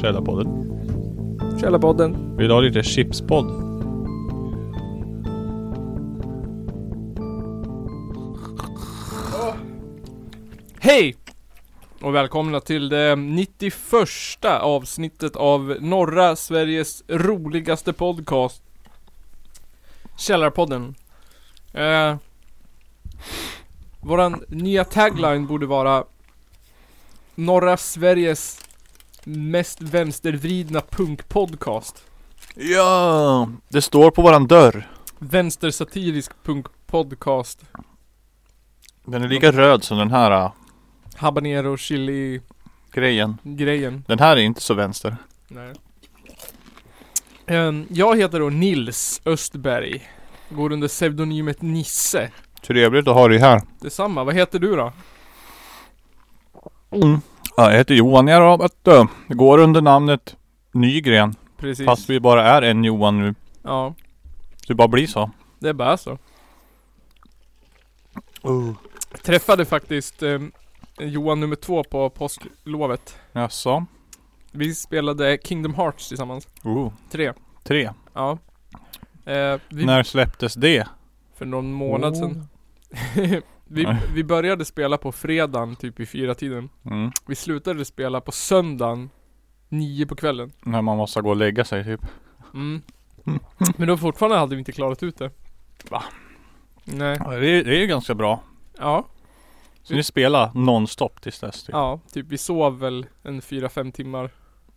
Källarpodden. Källarpodden. Vill du ha lite chipspodd? Hej! Och välkomna till det 91 avsnittet av norra Sveriges roligaste podcast. Källarpodden. Eh, våran nya tagline borde vara Norra Sveriges mest vänstervridna punkpodcast. Ja, det står på våran dörr. Vänstersatirisk punkpodcast. Den är lika röd som den här äh, Habanero chili-grejen. grejen. Den här är inte så vänster. Nej. Ehm, jag heter då Nils Östberg. Går under pseudonymet Nisse. Trevligt att ha dig här. Detsamma, vad heter du då? Ja, jag heter Johan. Jag har att, äh, går under namnet Nygren. Precis. Fast vi bara är en Johan nu. Ja, Det bara blir så. det är bara så. Oh. Jag träffade faktiskt ehm, Johan nummer två på påsklovet. Jaså? Vi spelade Kingdom Hearts tillsammans. Oh. Tre. Tre. Ja. Eh, vi, När släpptes det? Oh. För någon månad sedan. vi, Nej. vi började spela på fredagen typ i fyra tiden. Mm. Vi slutade spela på söndagen, nio på kvällen. När man måste gå och lägga sig typ. Mm. Men då fortfarande hade vi inte klarat ut det. Va? Nej. Ja, det, är- det är ju ganska bra. Ja. Så ni spelar nonstop tills dess typ. Ja, typ vi sov väl en fyra fem timmar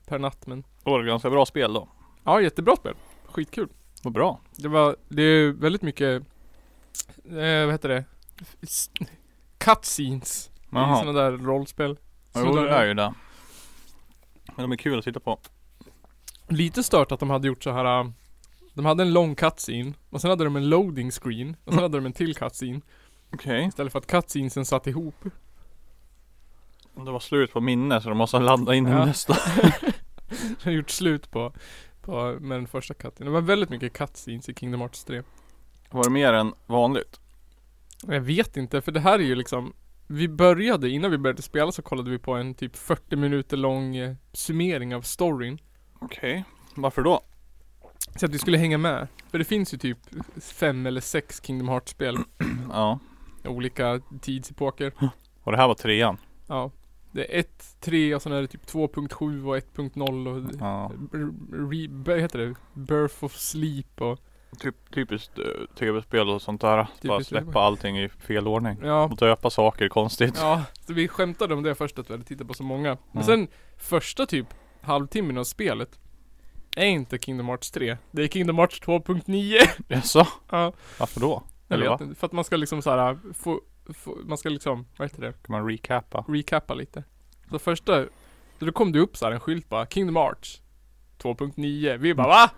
per natt men. Det var ett ganska bra spel då. Ja, jättebra spel. Skitkul. Vad bra. Det var, det är väldigt mycket, eh, vad heter det? S- Cutscenes. I Jaha. sådana där rollspel. Ja, Sådana Jo, det där- är ju det. Men de är kul att titta på. Lite stört att de hade gjort så här. äh, De hade en lång cutscene och sen hade de en loading screen och Mm. sen hade de en till cutscene Okej. istället för att cutscenesen satt ihop. Det var slut på minne så de måste ladda in Ja. ja. nästa. Jag har gjort slut på, på med den första cutscenen. Det var väldigt mycket cutscenes i Kingdom Hearts 3. Var det mer än vanligt? Jag vet inte, för det här är ju liksom Vi började, innan vi började spela så kollade vi på en typ 40 minuter lång eh, summering av storyn. Okej. Varför då? Så att vi skulle hänga med. För det finns ju typ fem eller sex Kingdom Hearts-spel. Ja. Olika tidsepoker. Och det här var trean. Ja. Det är 1, 3 och sen är det typ 2.7 och 1.0 och Ja. re, vad heter det? Birth of Sleep och Typ, typiskt eh, tv-spel och sånt där. Bara Typiskt släppa tv-spel. allting i fel ordning. ja. Och döpa saker konstigt. Ja, så vi skämtade om det först att vi hade tittat på så många. Men Mm. sen första typ halvtimmen av spelet är inte Kingdom Hearts 3. Det är Kingdom Hearts 2.9. Jaså? ja, Varför då? jag Eller vet vad? inte. För att man ska liksom så här få, få, man ska liksom, vad heter det? Kan man recappa? Recappa lite. Så första, så då kom det upp så här en skylt bara, Kingdom Hearts 2.9. Vi bara va?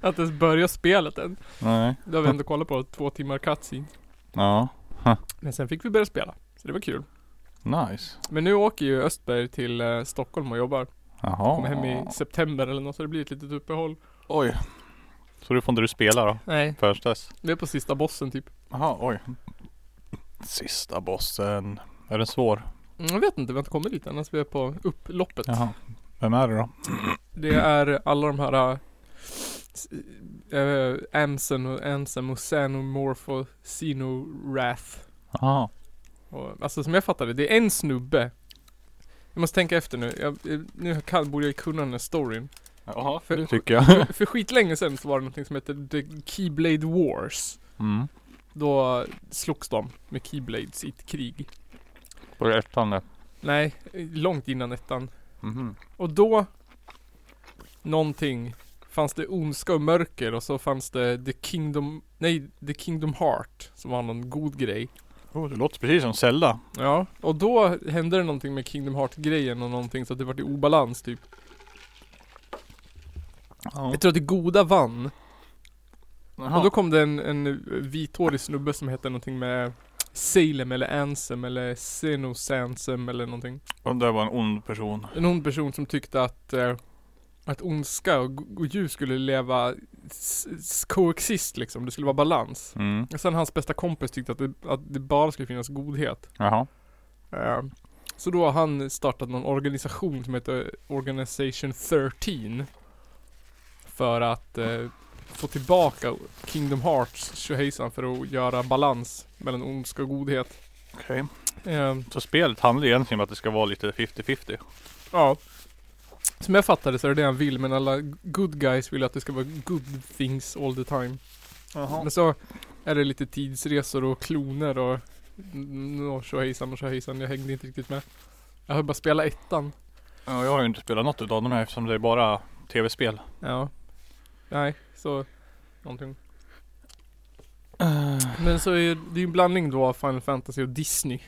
att ens börja spelet än. Nej. Då har vi ändå kollat på två timmar cutscene. Ja. Men sen fick vi börja spela. Så det var kul. Nice. Men nu åker ju Östberg till eh, Stockholm och jobbar. Jaha. Kommer hem i september eller något så det blir ett litet uppehåll. Oj. Så du får inte du spela då? Nej. Först dess? Vi är på sista bossen typ. Jaha, oj. Sista bossen. Är den svår? Mm, Jag vet inte, vi har inte kommit dit än. Alltså, vi är på upploppet. Jaha. Vem är det då? Det är alla de här äh, Amsen och Ansem och Xenomorph och Xenorath. Jaha. Och, alltså som jag fattade, det är en snubbe. Jag måste tänka efter nu. Jag, eh, nu kan, borde jag kunna den här storyn. Jaha, För- det tycker jag. För skitlänge sedan så var det någonting som hette The Keyblade Wars. Mm. Då slogs de med Keyblades i ett krig. På det ettan där. Nej, långt innan ettan. Mhm. Och då Någonting Fanns det ondska och mörker och så fanns det The Kingdom Nej, The Kingdom Heart Som var någon god grej Oh, det låter precis som Zelda. Ja, och då hände det någonting med Kingdom Heart-grejen och någonting så att det vart i obalans typ Ja. Jag tror att det goda vann Och då kom det en, en vithårig snubbe som hette någonting med Salem eller Ansem eller Xenosansem eller någonting Och det var en ond person. En ond person som tyckte att eh, Att ondska och, och ljus skulle leva s- s- coexist liksom, det skulle vara balans. Mm. Och sen hans bästa kompis tyckte att det, att det bara skulle finnas godhet. Jaha. Eh, Så då har han startat någon organisation som heter Organization 13. För att eh, få tillbaka Kingdom Hearts tjohejsan för att göra balans mellan ondska och godhet. Okej. Eh, Så spelet handlar egentligen om att det ska vara lite 50-50. Ja. Som jag fattade så är det det han vill men alla good guys vill att det ska vara good things all the time. Men så är det lite tidsresor och kloner och mm, och tjohejsan och tjohejsan. Jag hängde inte riktigt med. Jag har bara spelat ettan. Ja, jag har ju inte spelat något utav de här eftersom det är bara tv-spel. Ja. Nej, så någonting. Men så är ju- det är ju en blandning då av Final Fantasy och Disney.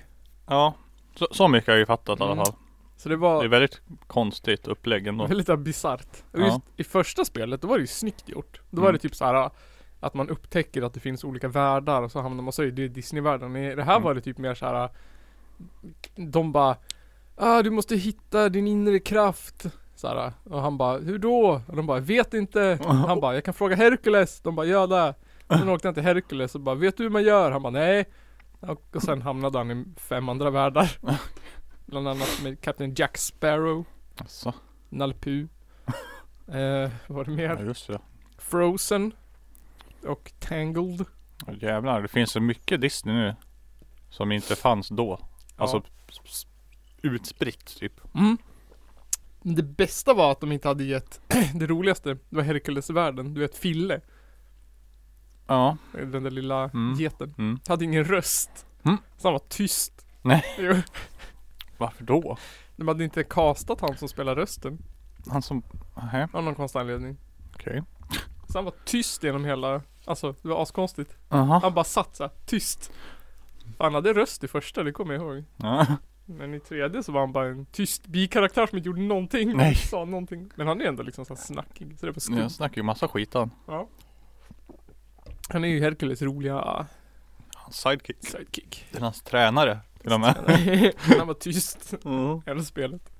Ja. Så, så mycket har jag ju fattat i alla Mm. fall. Så det Det är var väldigt konstigt upplägg ändå. väldigt så här bisarrt. Och Ja. just i första spelet, då var det ju snyggt gjort. Då var Mm. det typ så här att man upptäcker att det finns olika världar och så hamnar man så i det är Disney-världen. I det här Mm. var det typ mer så här. De bara ah, du måste hitta din inre kraft. Så här, ah, och han bara, hur då? Och de bara, vet inte. Han bara, jag kan fråga Herkules. De bara, gör det. Sen åkte han till Herkules och bara, vet du hur man gör? Han bara, nej. Och och sen hamnade han i fem andra världar. Bland annat med Captain Jack Sparrow, Alltså. Nalle Puh. Eh, vad var det Ja, mer? just det. Frozen. Och Tangled. Åh, Jävlar, det finns så mycket Disney nu. Som inte fanns då. Alltså Ja. s- s- utspritt typ. Mm. Men Det bästa var att de inte hade gett det roligaste. Det var Herkulesvärlden. Du vet Fille. Ja. Den där lilla Mm. geten. Mm. Hade ingen röst. Mm. Så han var tyst. Nej. Jo. Varför då? De hade inte castat han som spelar rösten. Han som... Nej, Av någon konstig anledning. okej. Så han var tyst genom hela, alltså det var askonstigt. Jaha. Han bara satt såhär, tyst. För han hade röst i första, det kommer jag ihåg. Ja. Men i tredje så var han bara en tyst bikaraktär som inte gjorde någonting. Nej. Sa någonting. Men han är ändå liksom såhär snackig. Så det är på skumt. Jag snackar ju massa skit han. Han är ju Herkules roliga ah, Hans sidekick. sidekick. Det är hans tränare till och med. han var tyst Mm. hela spelet.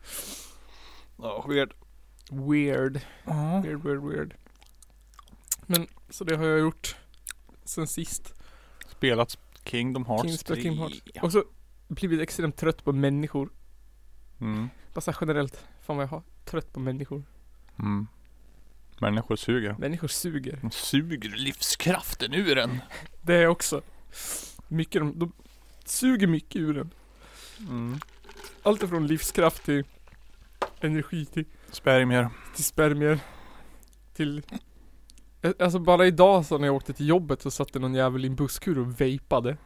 Ja, weird. Weird. Ja. Weird, weird, weird. Men så det har jag gjort sen sist. Spelat Kingdom Hearts Kings by 3. Kingdom Hearts. Och så blivit extremt trött på människor. Mm. Bara så här generellt. Fan vad jag har trött på människor. Mm. Människor suger. Människor suger. De suger livskraften ur en. Det är också. Mycket de, de suger mycket ur en. Mm. Allt ifrån livskraft till energi till, Spermier. till spermier. Till Ä- Alltså bara idag så när jag åkte till jobbet så satt det någon jävel i en busskur och vejpade.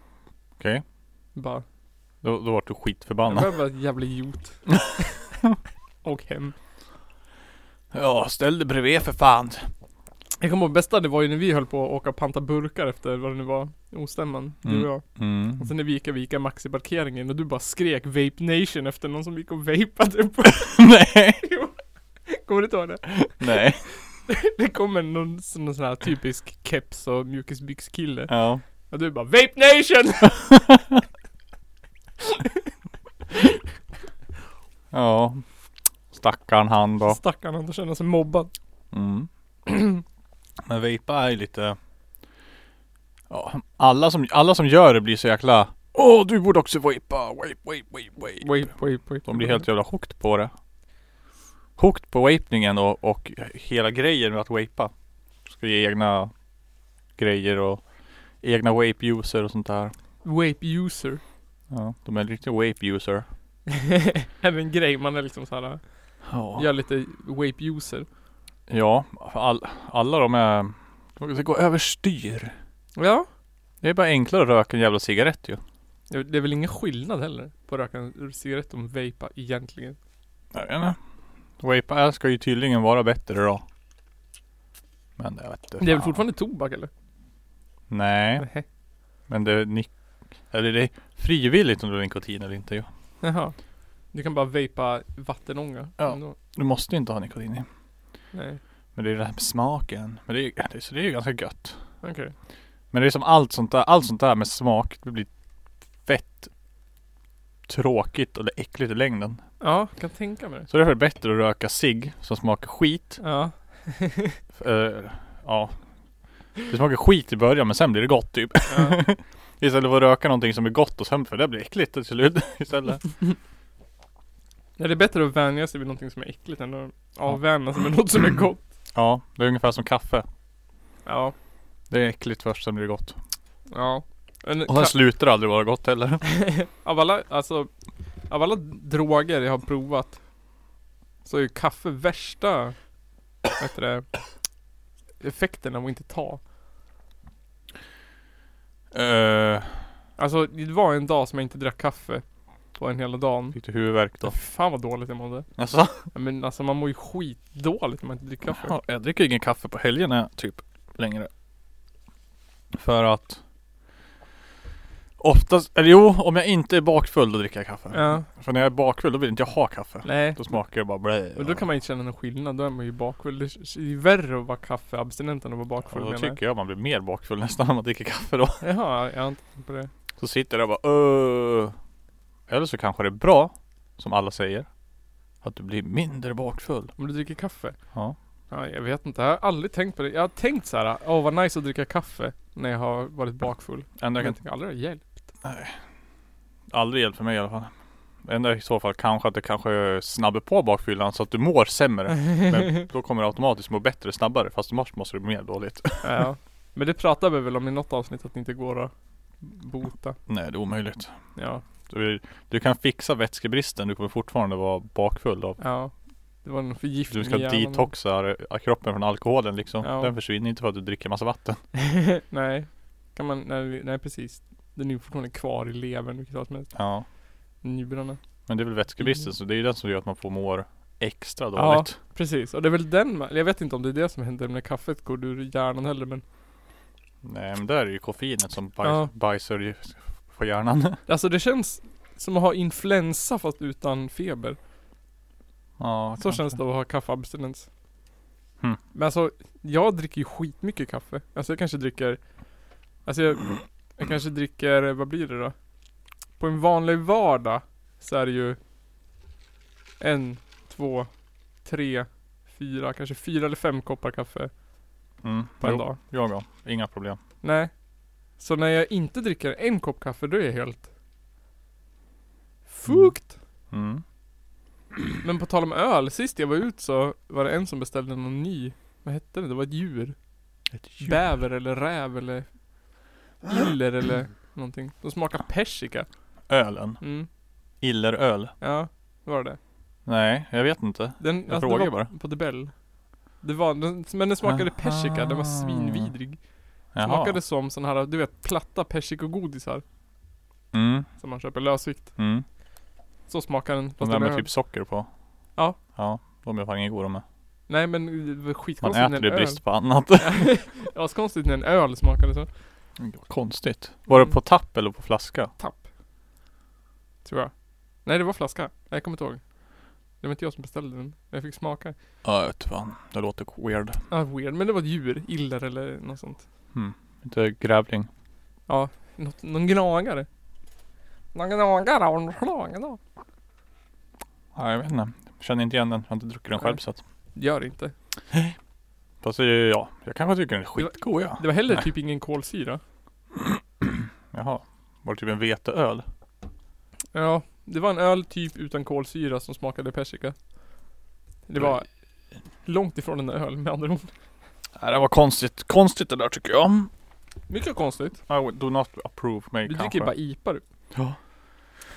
Okej. Bara. Då, då vart du Jag skitförbannad. var bara en jävla idiot. och hem. Ja, ställ dig bredvid för fan. Jag kommer ihåg bästa det var ju när vi höll på att åka och panta burkar efter vad det nu var Ostämman, du Mm. och jag Mm. Och sen när vi gick och vi gick av Maxi-parkeringen och du bara skrek Vape Nation efter någon som gick och vapade på Nej. Kommer du inte ihåg det? Nej. Det kommer någon, sån- någon sån här typisk keps och mjukisbyxkille Ja. Och du bara Vape Nation! Ja. Stackarn han då. Stackarn han känner sig mobbad Mm. Men vejpa är ju lite Ja, alla som, alla som gör det blir så jäkla Åh du borde också vejpa, vape, vape, vape, vape Vape, vape, vape De blir helt jävla hooked på det Hooked på vapningen och, och hela grejen med att vejpa Ska ge egna grejer och egna vape user och sånt där Vape user Ja, de är riktiga vape user Är det en grej? Man är liksom såhär, Ja, gör lite vape user ja all, alla de är Det går överstyr Ja Det är bara enklare att röka en jävla cigarett ju Det är väl ingen skillnad heller på att röka en cigarett och vapa egentligen Jag vet inte. Vape Air ska ju tydligen vara bättre då. Men jag vet inte. Det är väl fan. fortfarande tobak eller? Nej, Nej. men det är nik- Eller det är frivilligt om du har nikotin eller inte ju. Jaha. Du kan bara vejpa vattenånga. Ja. Ändå. Du måste inte ha nikotin i. Nej. Men det är det här med smaken. Men det är, det, är- så det är ju ganska gött. Okej. Men det är som allt sånt där, allt sånt där med smak. Det blir fett tråkigt eller äckligt i längden. Ja, kan tänka mig det. Så därför är det bättre att röka cigg som smakar skit. Ja. Eh, ja. Det smakar skit i början men sen blir det gott typ. ja. Istället för att röka någonting som är gott och sen för det blir äckligt till slut istället. Nej, det är bättre att vänja sig vid någonting som är äckligt än att avvänja sig med något som är gott. Ja, det är ungefär som kaffe. Ja. Det är äckligt först, sen blir det gott. Ja. En, Och sen ka- slutar det aldrig vara gott heller. av alla, alltså, av alla droger jag har provat så är ju kaffe värsta, vad heter det, effekten av att inte ta. Eh, Alltså det var en dag som jag inte drack kaffe på en hela dagen. fick du huvudvärk då? Fan vad dåligt jag mådde. Alltså, Ja, Men alltså man mår ju skitdåligt när man inte dricker kaffe. ja, jag dricker ingen kaffe på helgerna typ längre. För att Oftast, eller jo, om jag inte är bakfull då dricker jag kaffe. Ja, För när jag är bakfull då vill inte jag ha kaffe. nej. Då smakar det bara blä. Men då kan man inte känna någon skillnad, då är man ju bakfull. Det är ju värre att vara kaffeabstinent än att vara bakfull och då menar jag. tycker jag man blir mer bakfull nästan om man dricker kaffe då. Jaha, jag har inte tänkt på det. Så sitter jag och bara öh. Eller så kanske det är bra, som alla säger, att du blir mindre bakfull. Om du dricker kaffe? Ja. Ja, jag vet inte, jag har aldrig tänkt på det. Jag har tänkt så här, åh vad nice att dricka kaffe när jag har varit bakfull. Ändå Men kan jag tänker aldrig det hjälpt. aldrig hjälpt för mig i alla fall. Enda i så fall kanske att det kanske snabbar på bakfyllan så att du mår sämre. Men då kommer du automatiskt må bättre snabbare fast annars måste du må mer dåligt. ja. Men det pratade vi väl om i något avsnitt att det inte går att bota. Nej det är omöjligt. Ja, Du, du kan fixa vätskebristen, du kommer fortfarande vara bakfull av ja. Det var en förgiftning Du ska i hjärnan. detoxa eh, kroppen från alkoholen liksom. Ja. Den försvinner inte för att du dricker massa vatten. nej. Kan man, nej, nej precis. Den är ju fortfarande kvar i levern vilket som helst. Ja. Njurarna. Men det är väl vätskebristen så det är ju den som gör att man får mår extra Mm. Ja. dåligt. Precis, och det är väl den, man- jag vet inte om det är det som händer när kaffet går ur hjärnan heller men Nej men där är ju koffeinet som bajs, Ja. bajsar i- på hjärnan. Alltså det känns som att ha influensa fast utan feber. ja, Så kanske. känns det att ha kaffeabstinens. Hmm. Men alltså, jag dricker ju skitmycket kaffe. Alltså jag kanske dricker, alltså jag, jag kanske dricker, vad blir det då? På en vanlig vardag så är det ju en, två, tre, fyra, kanske fyra eller fem koppar kaffe Mm. på en Jo, dag. Jag ja. Inga problem. Nej. Så när jag inte dricker en kopp kaffe då är jag helt fukt. Mm. Men på tal om öl, sist jag var ut så var det en som beställde någon ny Vad hette det? Det var ett djur, Ett Bäver eller räv eller Iller Mm. eller någonting De smakar persika Ölen. Mm, Illeröl. ja det var det Nej, jag vet inte. Den, Jag frågar det var bara. på Debell Det var, den, men den smakade Aha. persika, den var svinvidrig Jaha. Smakade som sån här, du vet platta persikogodisar Mm. Som man köper lösvikt Mm. Så smakar den De fast där den är med öl. typ socker på. Ja. Ja. De är fan inga goda med. Nej men det var Man skitkonstigt äter när det i en öl brist på annat. Det var så konstigt när en öl smakade så Det var konstigt. Var det Mm. på tapp eller på flaska? tapp. Tror jag. Nej det var flaska. Nej, jag kommer inte ihåg. Det var inte jag som beställde den. Jag fick smaka. Ja, jag vet fan. Det låter weird. Ah, weird. Men det var ett djur. Iller eller något sånt. Inte grävling. Något, någon gnagare. Någon gnagare och en slagen då. Ja, jag vet inte. Känner inte igen den. Jag har inte druckit den själv Nej. så att. Gör inte. Fast det är ju- ja, jag kanske tycker den är skitgod ja. Det var heller typ ingen kolsyra. Jaha. Var det typ en veteöl? Ja. Det var en öl typ utan kolsyra som smakade persika. Det var långt ifrån en öl med andra ord. Nej, det var konstigt. Konstigt det där tycker jag. Mycket konstigt. I would- do not approve mig Du dricker kanske. ju bara IPA typ. du. Ja.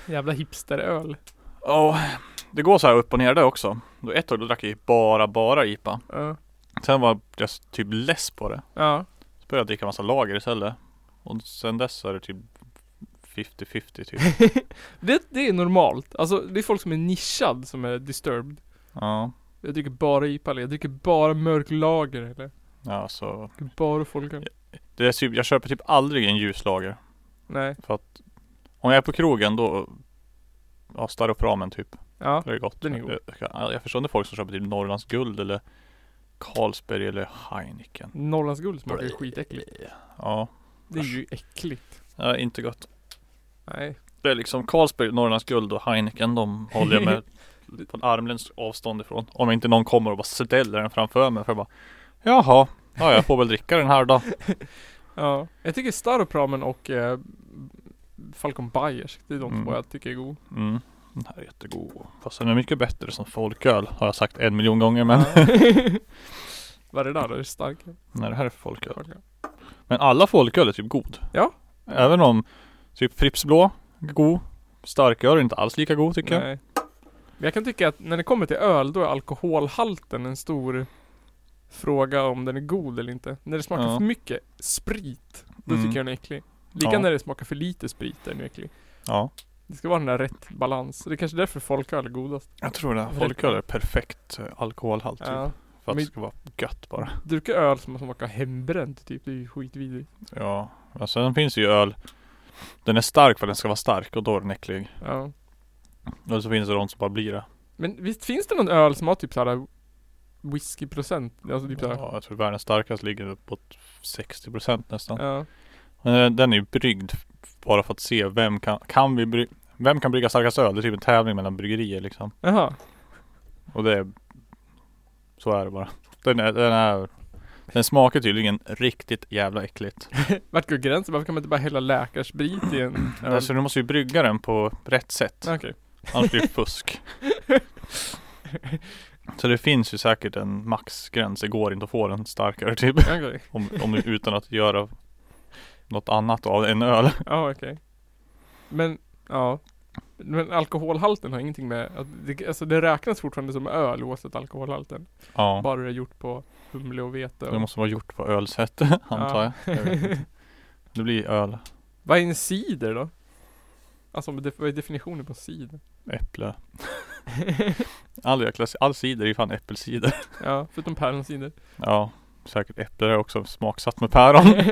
Jävla hipsteröl. Ja, det går så här upp och ner där också. Då ett år då drack jag bara, bara IPA. Ja. Sen var jag s- typ less på det. Ja. Så började jag dricka massa lager istället. Och sen dess är det typ 50-50 typ. Det, det är normalt. Alltså det är folk som är nischad som är disturbed. ja. Jag dricker bara IPA eller jag dricker bara mörk lager eller jag Ja, så. dricker bara folköl. Det är typ, jag köper typ aldrig en ljuslager. Nej. Om jag är på krogen då Ja, starr upp ramen typ. Ja. Det är gott. Den är god. Jag, jag förstår inte folk som köper typ Norrlands guld eller Carlsberg eller Heineken. Norrlands guld Mm, smakar ju skitäckligt. Ja, Det är ju äckligt. ja inte gott. Nej. Det är liksom Carlsberg, Norrlands Guld och Heineken de håller jag med på en armlängds avstånd ifrån. Om inte någon kommer och bara ställer den framför mig för jag bara Jaha, ja jag får väl dricka den här då. Ja. Jag tycker Staropramen och eh, Falcon Bayers, det är de Mm. två jag tycker är god. Mm. Den här är jättegod. Fast den är mycket bättre som folköl har jag sagt en miljon gånger men Ja. Vad är det där då? Är det starkt? Nej det här är folköl. Men alla folköl är typ god. Ja. Även om typ Pripps blå, är god. Starköl är inte alls lika god tycker jag. Nej. Men jag kan tycka att när det kommer till öl, då är alkoholhalten en stor fråga om den är god eller inte. När det smakar Ja. för mycket sprit, då Mm. tycker jag den är äcklig. Lika Ja. när det smakar för lite sprit, är den är äcklig. Ja. Det ska vara den där rätt balans. Det är kanske är därför folköl är godast. Jag tror det. Folköl är perfekt eh, alkoholhalt typ. Ja. För att Men- det ska vara gött bara. Dricka öl som smakar hembränt, typ. Det är ju skitvidrigt. Ja. Men sen finns det ju öl. Den är stark för att den ska vara stark och då är den äcklig. Ja. Och så finns det de som bara blir det. Men visst finns det någon öl som har typ såhär whiskyprocent? Alltså typ såhär. Ja, jag tror världens starkaste ligger på 60% nästan. Ja. Men eh, den är ju bryggd f- bara för att se vem kan, kan vi bry, Vem kan brygga starkast öl? Det är typ en tävling mellan bryggerier liksom. Jaha. Och det är Så är det bara. Den är, den är Den smakar tydligen riktigt jävla äckligt. Vart går gränsen? Varför kan man inte bara hälla läkarsprit i en öl? Alltså du måste ju brygga den på rätt sätt. Okej. Annars blir det fusk. Så det finns ju säkert en maxgräns. Det går inte att få den starkare typ. Okej. Om, om, utan att göra något annat av en öl. Ja, okej. Men, ja. Men alkoholhalten har ingenting med att det, alltså det räknas fortfarande som öl oavsett alkoholhalten. Ja. Bara det är gjort på humle och vete Det och... måste vara gjort på ölsätt antar jag. jag. vet inte. Det blir öl. Vad är en cider då? Alltså vad är def- vad är definitionen på cider? Äpple. All, jäkla, all cider är ju fan äppelcider. Ja, förutom päronsider. Ja. Säkert äpple är också smaksatt med päron.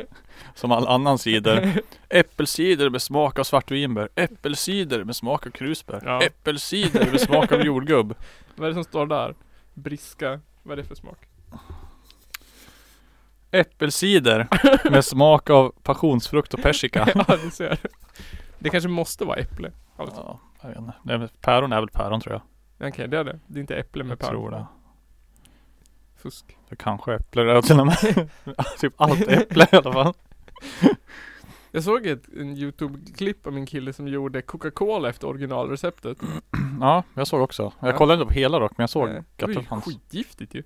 Som all annan cider. Äppelcider med smak av svartvinbär. Äppelcider med smak av krusbär. Ja. Äppelcider med smak av jordgubb. vad är det som står där? Briska. Vad är det för smak? Äppelcider med smak av passionsfrukt och persika. Ja, du ser. Det kanske måste vara äpple. Alltså. Ja, jag vet inte. Nej, men päron är väl päron tror jag. Okej, det är det. Det är inte äpple med jag päron. tror det. Fusk. Det kanske är äpple det är till och med. typ allt är äpple i alla fall. Jag såg ett en YouTube-klipp av min kille som gjorde Coca-Cola efter originalreceptet. Ja, jag såg också. Jag Ja. kollade inte på hela dock, men jag såg Nej, att det Eh, var ju fanns. skitgiftigt ju.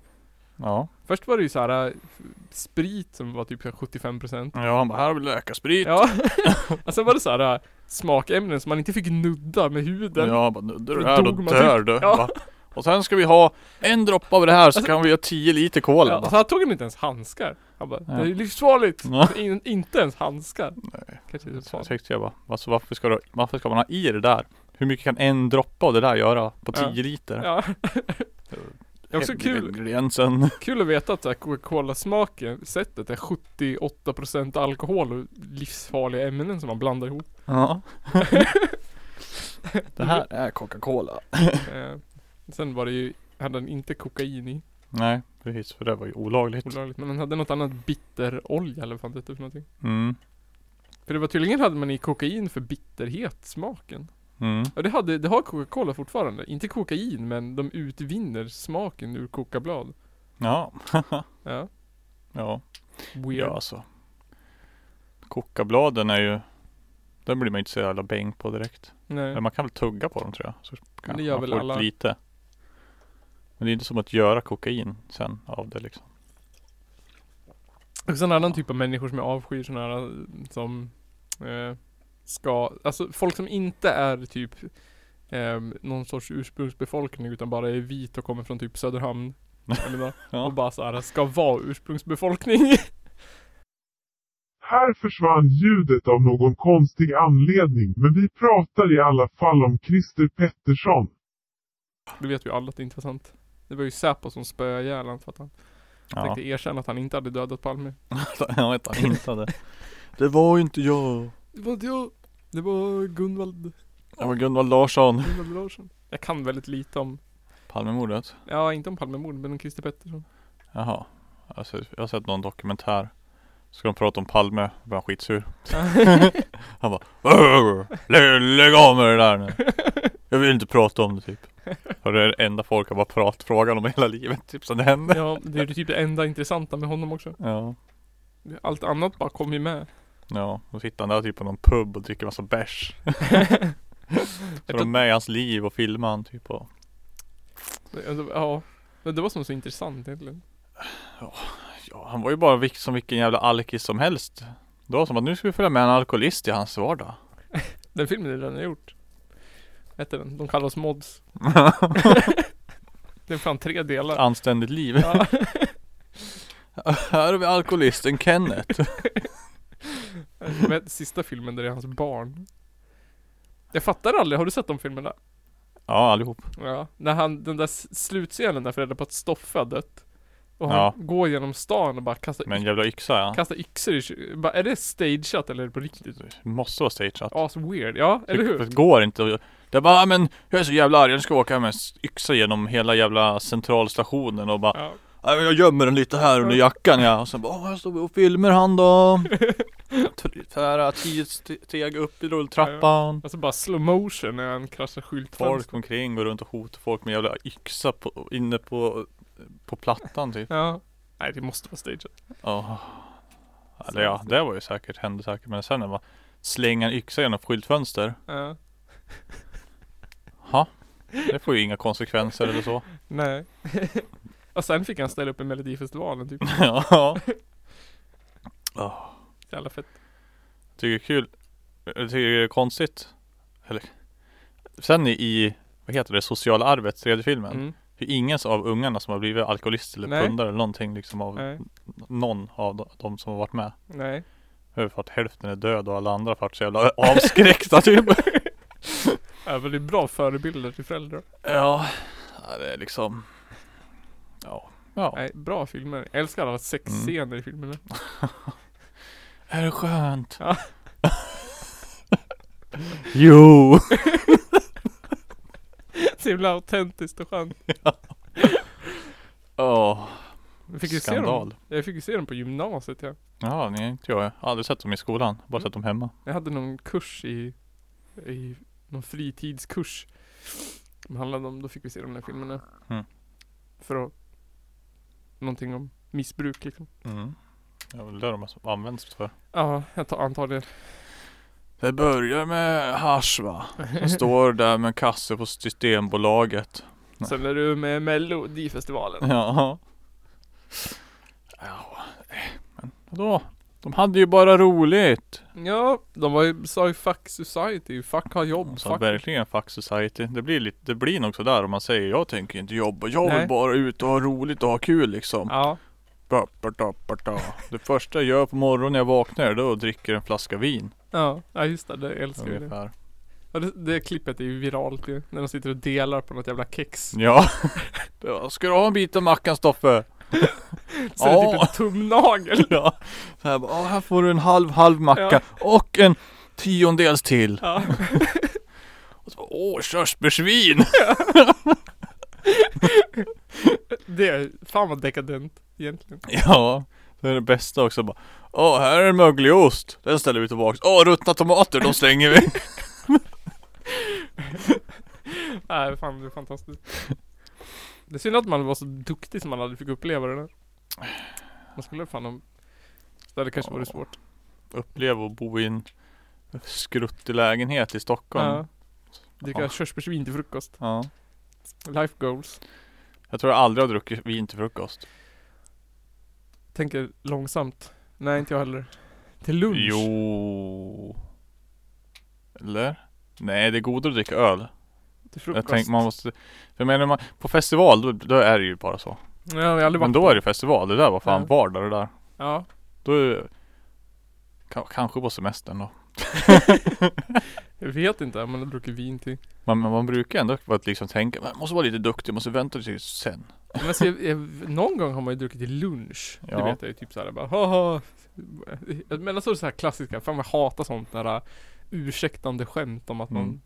Ja. Först var det ju så här äh, f- sprit som var typ så här 75% Ja, han bara, här har vi läkarsprit. Ja. Och sen var det så här äh, smakämnen som man inte fick nudda med huden. Ja, bara nuddar du Då här då dog man typ. dör du. Ja. Alltså- Bara, Och sen ska vi ha en droppe av det här så kan vi göra 10 liter cola. Ja, och så här tog han inte ens handskar. Han bara, Ja. det är ju livsfarligt! Ja. In, inte ens handskar. Kanske typ är det Så jag farligt. tänkte jag bara, alltså varför ska, du, varför ska man ha i det där? Hur mycket kan en droppe av det där göra på Ja. 10 liter? Ja. Det är också Helvete, kul, Gränsen. kul att veta att så här Coca-Cola-smaken, sättet är 78% alkohol och livsfarliga ämnen som man blandar ihop. Ja. det här är Coca-Cola. Eh, sen var det ju, hade han inte kokain i, Nej, precis för det var ju olagligt. olagligt, men han hade något annat bitterolja eller vad fan det hette för någonting. Mm. För det var tydligen hade man i kokain för bitterhet smaken. Mm. Ja det hade, det har Coca-Cola fortfarande. Inte kokain men de utvinner smaken ur kokablad. Ja. Ja. ja. Weird. Ja alltså. Kokabladen är ju Den blir man ju inte så jävla bäng på direkt. Nej. Men man kan väl tugga på dem tror jag. Så kan det gör man väl får alla. lite. Men det är inte som att göra kokain sen av det liksom. Och sen en annan typ av människor som jag avskyr sådana här eh, som eh, ska, alltså folk som inte är typ eh, någon sorts ursprungsbefolkning utan bara är vit och kommer från typ Söderhamn. Eller vad. Ja. Och bara såhär, ska vara ursprungsbefolkning. Här försvann ljudet av någon konstig anledning men vi pratar i alla fall om Christer Pettersson. Det vet ju alla att det inte var sant. Det var ju Säpo som spöade ihjäl honom för att han Ja. tänkte erkänna att han inte hade dödat Palme. jag vet han inte hade. Det var ju inte jag. Det var inte jag. Det var Gunvald, Det var Gunvald Larsson. Gunvald Larsson. Jag kan väldigt lite om, Palmemordet. ja inte om Palmemord men om Christer Pettersson. Jaha. Alltså, jag har sett någon dokumentär. Ska de prata om Palme, då blir han skitsur. Han bara "Arr, lä- Lägg av med det där nu. Jag vill inte prata om det typ. Och det är det enda folk har bara pratat frågan om hela livet typ som det händer. Ja, det är ju typ det enda intressanta med honom också. Ja. Allt annat bara kom ju med. Ja, då sitter han där typ på någon pub och dricker massa bärs. Så de är med i hans liv och filmar han typ och Ja. Det var som så intressant egentligen. Ja, han var ju bara vilk, som vilken jävla alkis som helst. Det var som att nu ska vi följa med en alkoholist i hans vardag. Den filmen är redan gjort. Hette den? De kallar oss mods. Det är fan tre Ett delar. anständigt liv. Ja. Här har vi alkoholisten Kenneth. Men sista filmen där det är hans barn. Jag fattar aldrig, har du sett de filmerna? Ja, allihop. Ja. När han, den där s- slutscenen där föräldrarna på att Stoffe har dött. Och han Ja. går genom stan och bara kastar, Med en jävla yxa ja. kastar yxor i kö- bara, Är det stageat eller är det på riktigt? Det måste vara stageat. As weird, ja eller hur? Det går inte. att- Det är bara, "Ah, men jag är så jävla arg. Jag ska åka med en s- yxa genom hela jävla centralstationen och bara Ja. "Ah, men Jag gömmer den lite här under jackan ja. Och sen bara, "Åh, jag står och filmer han då. Tr- Tvära tio st- steg upp i rulltrappan. Alltså bara slow motion när han kraschar skyltfönster. Folk omkring går runt och hotar folk med jävla yxa på, inne på, på plattan typ. Ja. Nej det måste vara stageat. Ja. Eller ja, det var ju säkert, hände säkert. Men sen när man slänger en yxa genom skyltfönster. Ja. Ja. Det får ju inga konsekvenser eller så. Nej. och sen fick han ställa upp i melodifestivalen typ. Ja. Så jävla fett. Tycker det är kul. Jag tycker det är konstigt. Eller. Sen i- i, vad heter det, sociala arvet, tredje filmen. Mm. Det är ingen av ungarna som har blivit alkoholist eller Nej. pundare eller någonting liksom av Nej. någon av de- de som har varit med. Nej. Det är För att hälften är död och alla andra har varit så jävla avskräckta typ. Ja, men det är bra förebilder till föräldrar. Ja, ja, det är liksom. Ja. ja. Mm. Nej, bra filmer. Jag älskar alla sexscener i filmerna. Är det skönt? Ja. jo. Så himla autentiskt och skönt. Åh. Jag fick ju se dem. Skandal. Jag fick ju se dem på gymnasiet ja. Ja, nej, inte jag. Jag har aldrig sett dem i skolan. Bara sett dem hemma. Jag hade någon kurs i, i någon fritidskurs. Som handlade om, då fick vi se de där filmerna. Mm. För att, någonting om missbruk liksom. Mm. Det är väl det de används för. Ja, jag tar antagligen. Det börjar med hasch va? Jag står där med en kasse på Systembolaget. Sen är du med i melodifestivalen. Ja. Ja, eh, men vadå? De hade ju bara roligt. Ja, de var ju, sa ju fuck society, fuck ha jobb, Alltså, fuck. verkligen fuck society. Det blir, lite, det blir nog sådär om man säger jag tänker inte jobba, jag vill Nej. bara ut och ha roligt och ha kul liksom. Ja, Ba, ba, da, ba, da. Det första jag gör på morgonen när jag vaknar då dricker jag en flaska vin. ja, ja just det, det älskar jag. Ungefär. Ja, det, det klippet är ju viralt ju, när de sitter och delar på något jävla kex. Ja. Det var, Ska du ha en bit av mackan Stoffe? Så är det typ Ja. en tumnagel. Ja. Så här, bara, "Ah, här får du en halv halv macka och en tiondels till. Ja. Och så, bara, Åh körsbärsvin! Det är, fan vad dekadent egentligen. Ja. Det är det bästa också bara. Åh här är en möglig ost. Den ställer vi tillbaks. Åh ruttna tomater, de slänger vi. Nej, fan det är fantastiskt. Det är synd att man var så duktig som man aldrig fick uppleva det där. Man skulle fan om... Det hade kanske varit Ja. svårt. uppleva att bo i en skruttig lägenhet i Stockholm. Ja. Ja. Dricka Ja. körsbärsvin till frukost. Life goals. Jag tror jag aldrig har druckit vin till frukost. Tänker långsamt. Nej, inte jag heller. Till lunch? Jo. Eller? Nej, det är godare att dricka öl. Till Jag frukost? tänker man måste... Jag menar man, på festival då, då är det ju bara så. Ja, jag har aldrig Men varit då är det festival. Det där var fan Ja. vardag det där. Ja. Då är det... Ka- Kanske på semestern då. Jag vet inte om man har druckit vin till. Man, man, man brukar ändå vara att liksom tänka, man måste vara lite duktig, måste vänta till sen. Men alltså, jag, jag, någon gång har man ju druckit till lunch. Det Ja. vet jag ju typ såhär bara haha. Men alltså så här klassiska, fan jag hatar sånt där äh, ursäktande skämt om att man Mm.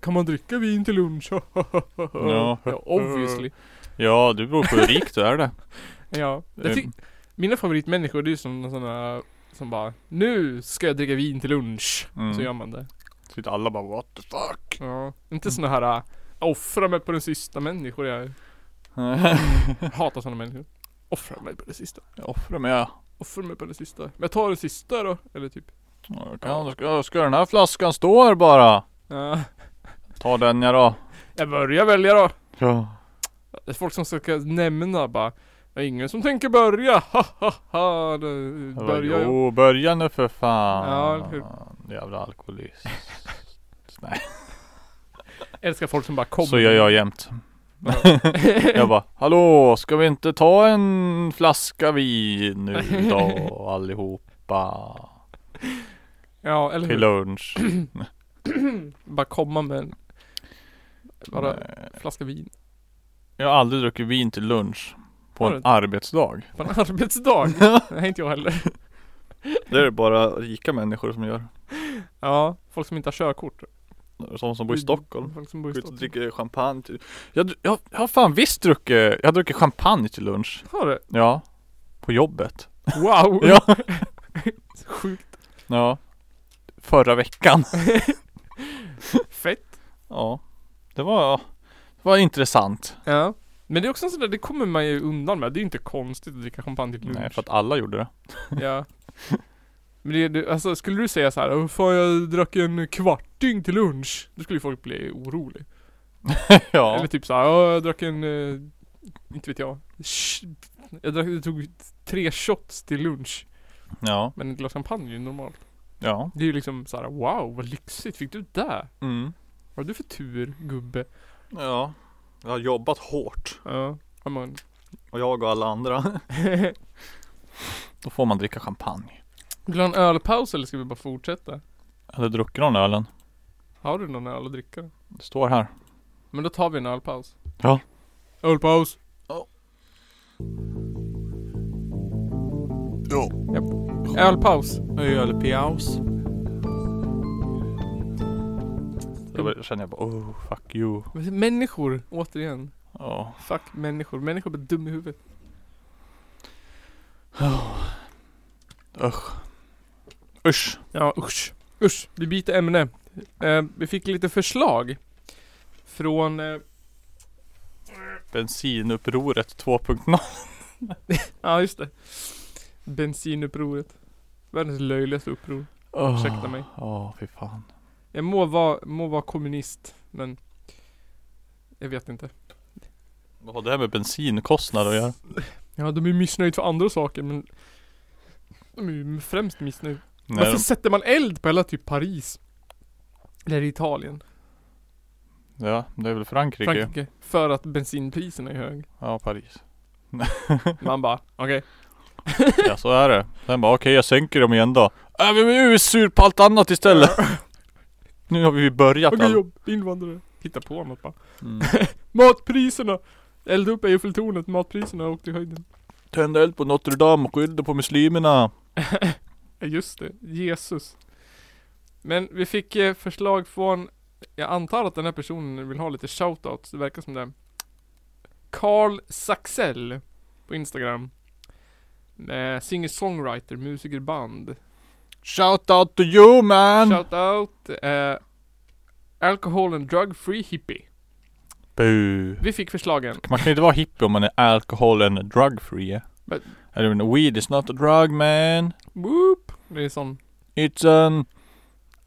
Kan man dricka vin till lunch? ja, obviously. Ja, det beror på hur rik du är det. Ja. Jag tyck, mina favoritmänniskor det är ju som sådana Som bara, nu ska jag dricka vin till lunch. Mm. Så gör man det. Sitter alla bara what the fuck? Ja. Inte såna här, äh, offra mig på den sista människor jag är. Jag hatar såna människor. Offra mig på det sista. jag offrar mig. Ja, Offra mig på det sista. Men jag tar den sista då. Eller typ. då kan- då ska, då ska den här flaskan stå här bara? Ja. Ta den jag då. Jag börjar välja då. Ja. Det är folk som ska nämna bara. Det är ingen som tänker börja. Ha ha ha. Det Börjar jag. Jo, börja nu för fan. Ja, eller hur? Jävla alkoholist. Nej. Jag älskar folk som bara kommer. Så gör jag jämt. jag bara, hallå ska vi inte ta en flaska vin nu då allihopa? Ja, eller Till hur? lunch. Bara komma med en bara Nej. flaska vin. Eh, Jag har aldrig druckit vin till lunch. På Har en du inte? arbetsdag. På en arbetsdag. Nej, inte jag heller. Det är bara rika människor som gör. Ja, folk som inte har körkort. Sådana som bor i Stockholm. Folk som Mm. bor i Går ut och Stockholm. dricker champagne till... jag, dr- jag, jag har fan visst druckit, jag har druckit champagne till lunch. Har du? Ja. På jobbet. Wow! Ja. Sjukt Ja. Förra veckan. fett. Ja. Det var, det var intressant. Ja. Men det är också en sån där, det kommer man ju undan med. Det är ju inte konstigt att dricka champagne till lunch. Nej, för att alla gjorde det. Ja. Men det, det, alltså skulle du säga så här, "Åh, fan jag drack en kvarting till lunch. Då skulle ju folk bli oroliga. ja. Eller typ så här, "Åh, jag drack en, eh, inte vet jag. sh- Jag, drack, jag tog tre shots till lunch. Ja. Men ett glas champagne är ju normalt. Ja. Det är ju liksom så här, wow vad lyxigt. Fick du det? Mm. Vad har du för tur gubbe? Ja. Jag har jobbat hårt. Ja. Ja, men- Och jag och alla andra. Då får man dricka champagne. Vill du ha en ölpaus eller ska vi bara fortsätta? Jag hade druckit någon ölen. Har du någon öl att dricka? Det står här. Men då tar vi en ölpaus. Ja. Ölpaus. Jo. Ölpaus. Ölpaus. Då känner jag bara oh fuck you. Människor, återigen. Ja. Fuck människor. Människor blir dum i huvudet. Usch. Ja usch. Usch. Vi byter ämne. Eh, vi fick lite förslag. Från... Eh, Bensinupproret 2.0. ja just det. Bensinupproret. Världens löjligaste uppror. Oh. Ursäkta mig. Ja, fy fan. Jag må vara, må vara kommunist, men... Jag vet inte. Vad har det här med bensinkostnader att göra? Ja, de är missnöjda för andra saker, men... De är ju främst missnöjda. Nej, Varför sätter man eld på hela typ Paris? Eller Italien? de- ja, det är väl Frankrike. Frankrike? För att bensinpriserna är hög. Ja, Paris. Man bara, okej. Ja, så är det. Sen bara okej, jag sänker dem igen då. Äh, men nu är vi sur på allt annat istället. nu har vi börjat Okej all... jobb, invandrare. Hitta på något bara. mm. Matpriserna! Elda upp Eiffeltornet, matpriserna åkte i höjden. Tända eld på Notre Dame och skyllde på muslimerna. Ja, Just det, Jesus. Men vi fick eh, förslag från, jag antar att den här personen vill ha lite shoutouts, det verkar som det. Carl Saxell på Instagram. Eh, Singer-songwriter, musiker, band. Shout out to you man! Shoutout, eh, alcohol and drug free hippie. Bu. Vi fick förslagen. Man kan ju inte vara hippie om man är alkohol and drug free. Men- Eller men weed is not a drug man. Whoop! Det är sån It's an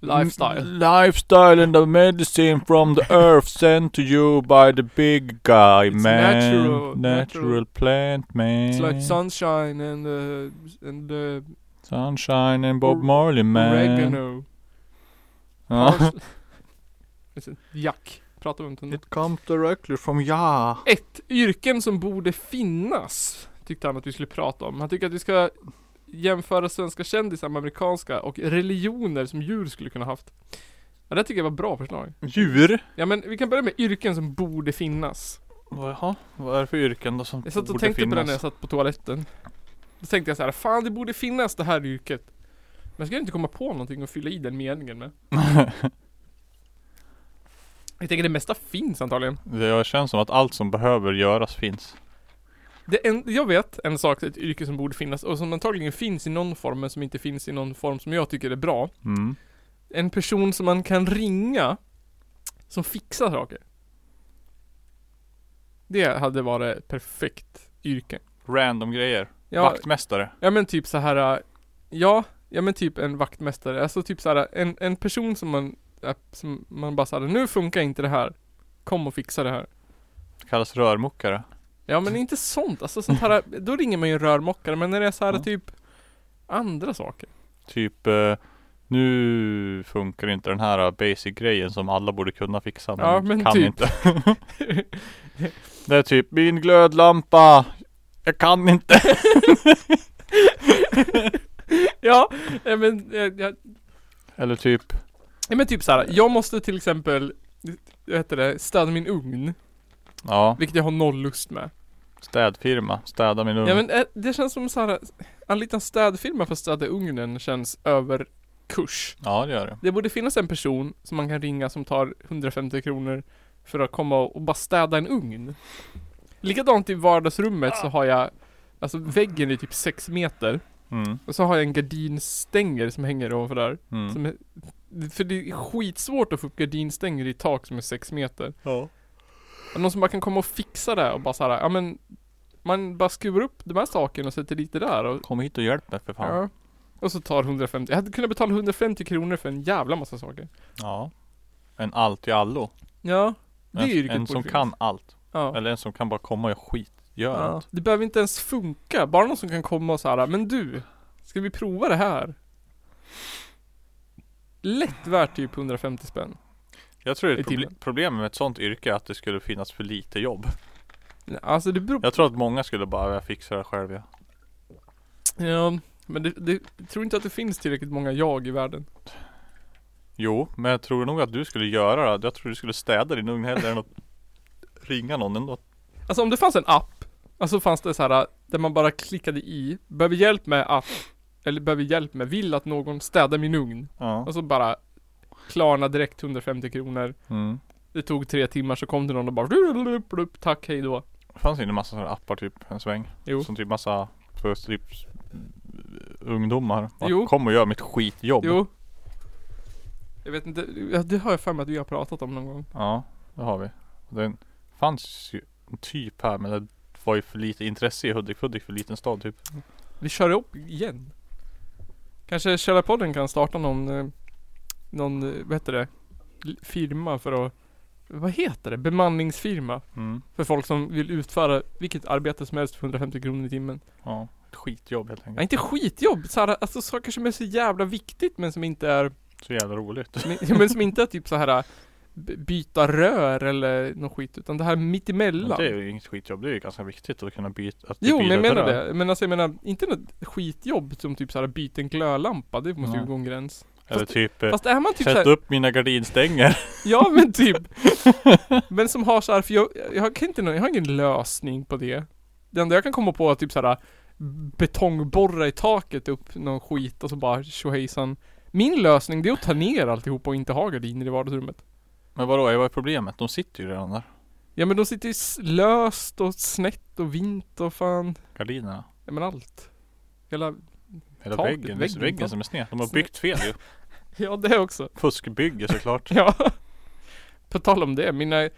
Mm. lifestyle. lifestyle and a medicine from the earth sent to you by the big guy It's man. natural, natural. plant man. It's like sunshine and, uh, and uh, Sunshine and Bob Or- Marley man. oregano. Ja. Jack. Pratar vi inte om det? It comes directly from ja. Ett, yrken som borde finnas. Tyckte han att vi skulle prata om. Han tycker att vi ska jämföra svenska kändisar med amerikanska och religioner som djur skulle kunna haft. Ja, det tycker jag var bra förslag. Djur? Ja men vi kan börja med yrken som borde finnas. Jaha, vad är det för yrken då som Jag satt och borde tänkte på det finnas? när jag satt på toaletten. Då tänkte jag så här, fan det borde finnas det här yrket. Men jag skulle inte komma på någonting att fylla i den meningen med. jag tänker det mesta finns antagligen. Det jag känns som att allt som behöver göras finns. Det en, jag vet en sak, ett yrke som borde finnas och som antagligen finns i någon form men som inte finns i någon form som jag tycker är bra. Mm. En person som man kan ringa som fixar saker. Det hade varit ett perfekt yrke. Random grejer. Ja, Vaktmästare. ja men typ så här. äh, Ja, ja men typ en vaktmästare. Alltså typ så här en, en person som man, äh, som man bara såhär, nu funkar inte det här. Kom och fixa det här. Kallas rörmokare. Ja men inte sånt, alltså sånt här, då ringer man ju en rörmokare men när det är så här Ja. typ andra saker. Typ eh, nu funkar inte den här eh, basic grejen som alla borde kunna fixa men, Ja, men kan typ. inte. Det är typ min glödlampa. Jag kan inte. ja, ja, men, eh, ja, Eller typ. ja, men typ så här. jag måste till exempel, vad heter det, städa min ugn. Ja. Vilket jag har noll lust med. Städfirma. Städa min ugn. Ja men eh, det känns som så här anlita en städfirma för att städa ugnen känns över kurs. Ja, det gör det. Det borde finnas en person som man kan ringa som tar 150 kronor för att komma och och bara städa en ugn. Likadant i vardagsrummet så har jag Alltså väggen är typ 6 meter Mm. och så har jag en gardinstänger som hänger ovanför där. Mm. Som är, för det är skitsvårt att få upp gardinstänger i ett tak som är 6 meter. Ja. Och Någon som bara kan komma och fixa det och bara såhär, ja men Man bara skruvar upp de här sakerna och sätter dit det där och Kom hit och hjälp mig för fan. Ja. Och så tar 150, jag hade kunnat betala 150 kronor för en jävla massa saker. Ja. En allt i allo. Ja. Det är En, yrket Alltså, en borde som finnas. kan allt. Ja. Eller en som kan bara komma och göra skit. Gör ja. allt. Det behöver inte ens funka, bara någon som kan komma och såhär, men du, ska vi prova det här? Lätt värt typ 150 spänn. Jag tror det är I ett proble- timmen. problem med ett sånt yrke är att det skulle finnas för lite jobb. Alltså det beror på, Jag tror att många skulle bara, jag fixar det själv ja. ja. Men det, det, jag tror inte att det finns tillräckligt många jag i världen. Jo, men jag tror nog att du skulle göra det. Jag tror du skulle städa din ugn hellre än att ringa någon ändå. Alltså om det fanns en app, alltså fanns det så här där man bara klickade i, behöver hjälp med app, eller behöver hjälp med, vill att någon städar min ugn. Ja. Och så bara Klarna direkt 150 kronor. Mm. Det tog tre timmar så kom det någon och bara "Blulup, blup, Tack, hej då. Det fanns ju en massa sådana appar typ en sväng. Jo. Som typ massa för typ s- ungdomar. Bara, Jo. Kom och gör mitt skitjobb. Jo. Jag vet inte, ja, det har jag för mig att vi har pratat om någon gång. Ja, det har vi. Och Den fanns ju en typ här men det var ju för lite intresse i Hudik Hudik för liten stad typ. Vi kör upp igen. Kanske Källarpodden kan starta någon, eh, någon, eh, vad heter det, L- firma för att, vad heter det, bemanningsfirma. Mm. För folk som vill utföra vilket arbete som helst för 150 kronor i timmen. Ja, ett skitjobb helt Ja, enkelt. inte skitjobb, så här, alltså saker som är så jävla viktigt men som inte är Så jävla roligt. Men, ja, men som inte är typ så här b- byta rör eller någon skit utan det här Men mittemellan. det är ju inget skitjobb, det är ju ganska viktigt att kunna byta. Att Jo men byta jag menar rör. det. Men alltså jag menar inte något skitjobb som typ så här byta en glödlampa. Det måste ju Nej. gå en gräns. Eller Fast- typ, eh, Fast är man typ så sätt här, upp mina gardinstänger. Ja men typ. men som har så här, för jag, jag kan inte nå- jag har ingen lösning på det. Det enda jag kan komma på är typ så här betongborra i taket upp någon skit och så bara tjohejsan. Min lösning det är att ta ner alltihop och inte ha gardiner i vardagsrummet. Men vadå, vad är problemet? De sitter ju redan där. Ja men de sitter ju s- löst och snett och vint och fan. Gardinerna. Ja men allt. Hela, Hela Taket, väggen, det är väggen, väggen tak. som är sned. De har Sned. byggt fel ju. ja det också. Fuskbygge såklart. Ja. På tal om det, mina... eh,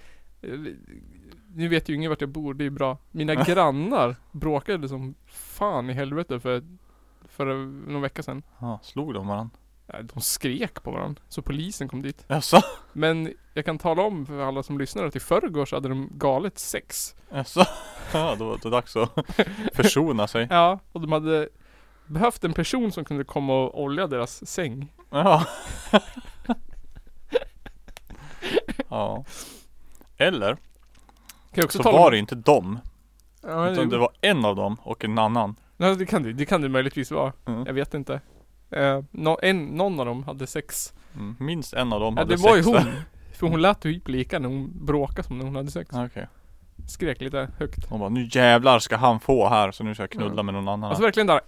Nu vet ju ingen vart jag bor, det är bra. Mina grannar bråkade som fan i helvete för, för någon vecka sedan. Ja, slog de varandra? Nej, De skrek på varandra, så polisen kom dit. Jaså? Men jag kan tala om för alla som lyssnar att i förrgår så hade de galet sex. Jaså? Ja, då var det dags att försona sig. Ja, och de hade behövt en person som kunde komma och olja deras säng. Ja. Ja. Eller Kan jag också så tala var om- det inte dem. Ja, Utan det var en av dem och en annan. Nej, det kan det, det kan det möjligtvis vara. Mm. Jag vet inte. Eh, nå- en, någon av dem hade sex. Mm. Minst en av dem Ja, hade det var ju sex hon. där. För hon lät typ lika när hon bråkade som när hon hade sex. Ja, Ah, Okej. Skrek lite högt. Hon bara, nu jävlar ska han få här så nu ska jag knulla med någon annan. Alltså här." verkligen där.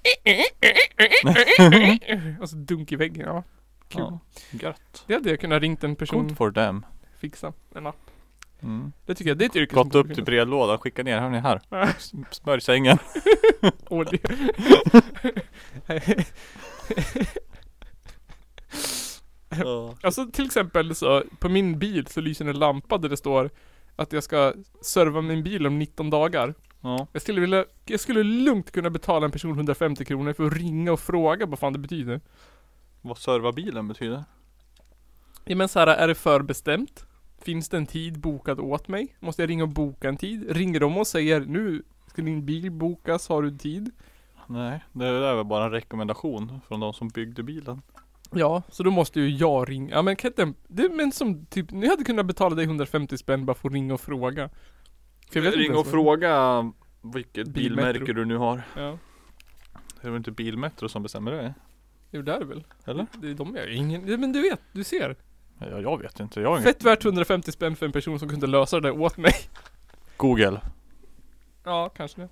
alltså dunk i väggen. Ja, kul. Ja. Gött. Det hade jag kunnat ringt en person Good for them. fixa. En app. Mm. Det tycker jag, det är ett yrke Gått borde upp typ- till brevlådan, skicka ner, hörni här. S- Smörj sängen. Och det... alltså till exempel så, på min bil så lyser en lampa där det står att jag ska serva min bil om 19 dagar. Ja. Jag skulle vilja, jag skulle lugnt kunna betala en person 150 kronor för att ringa och fråga vad fan det betyder. Vad serva bilen betyder? Ja men såhär, är det förbestämt? Finns det en tid bokad åt mig? Måste jag ringa och boka en tid? Ringer de och säger nu ska din bil bokas, har du tid? Nej, det är väl bara en rekommendation från de som byggde bilen. Ja, så då måste ju jag ringa. Ja men kan inte, det, men som typ, ni hade kunnat betala dig 150 spänn bara för att ringa och fråga. För jag vet inte Ring ens och vad- fråga vilket Bilmetro. bilmärke du nu har. Ja, Det är väl inte Bilmetro som bestämmer det? jo det är det väl. Eller? Det är de jag, ingen, ja, men du vet, du ser. Ja, jag vet inte, jag har inget. Fett värt 150 spänn för en person som kunde lösa det där åt mig. Google. Ja, kanske det.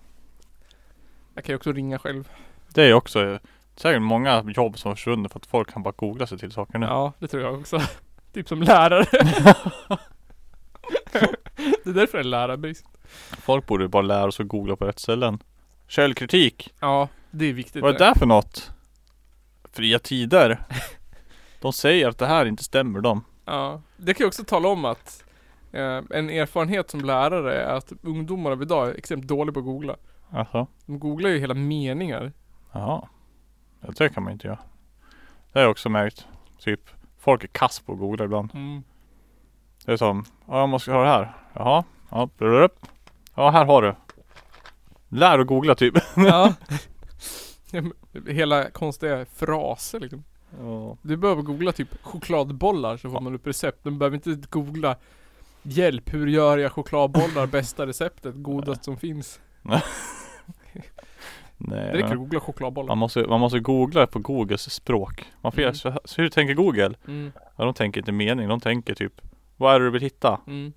Jag kan ju också ringa själv. Det är också eh, säkert många jobb som har försvunnit för att folk kan bara googla sig till saker nu. Ja, det tror jag också. typ som lärare. det är därför det är lärarbrist. Folk borde ju bara lära sig att googla på rätt ställen. Källkritik. Ja, det är viktigt. Vad är det där för något? Fria tider. De säger att det här inte stämmer dem. Ja, det kan jag också tala om att eh, en erfarenhet som lärare är att ungdomar av idag är extremt dåliga på att googla. Alltså. De googlar ju hela meningar. Jaha. Ja, Det kan man inte göra. Det har jag också märkt. Typ, folk är kass på att googla ibland. Mm. Det är som, ja jag måste ha det här. Jaha. Ja, blablabla. ja här har du. Lär att googla typ. Ja. hela konstiga fraser liksom. Ja. Du behöver googla typ chokladbollar så får man upp recept. Du behöver inte googla Hjälp, hur gör jag chokladbollar? Bästa receptet, godast som finns. Det Nej. räcker att men- googla chokladbollar. Man måste, man måste googla på Googles språk. Man får Mm. göra så, här- så hur tänker Google? Mm, Ja, de tänker inte mening. De tänker typ, vad är det du vill hitta? mm.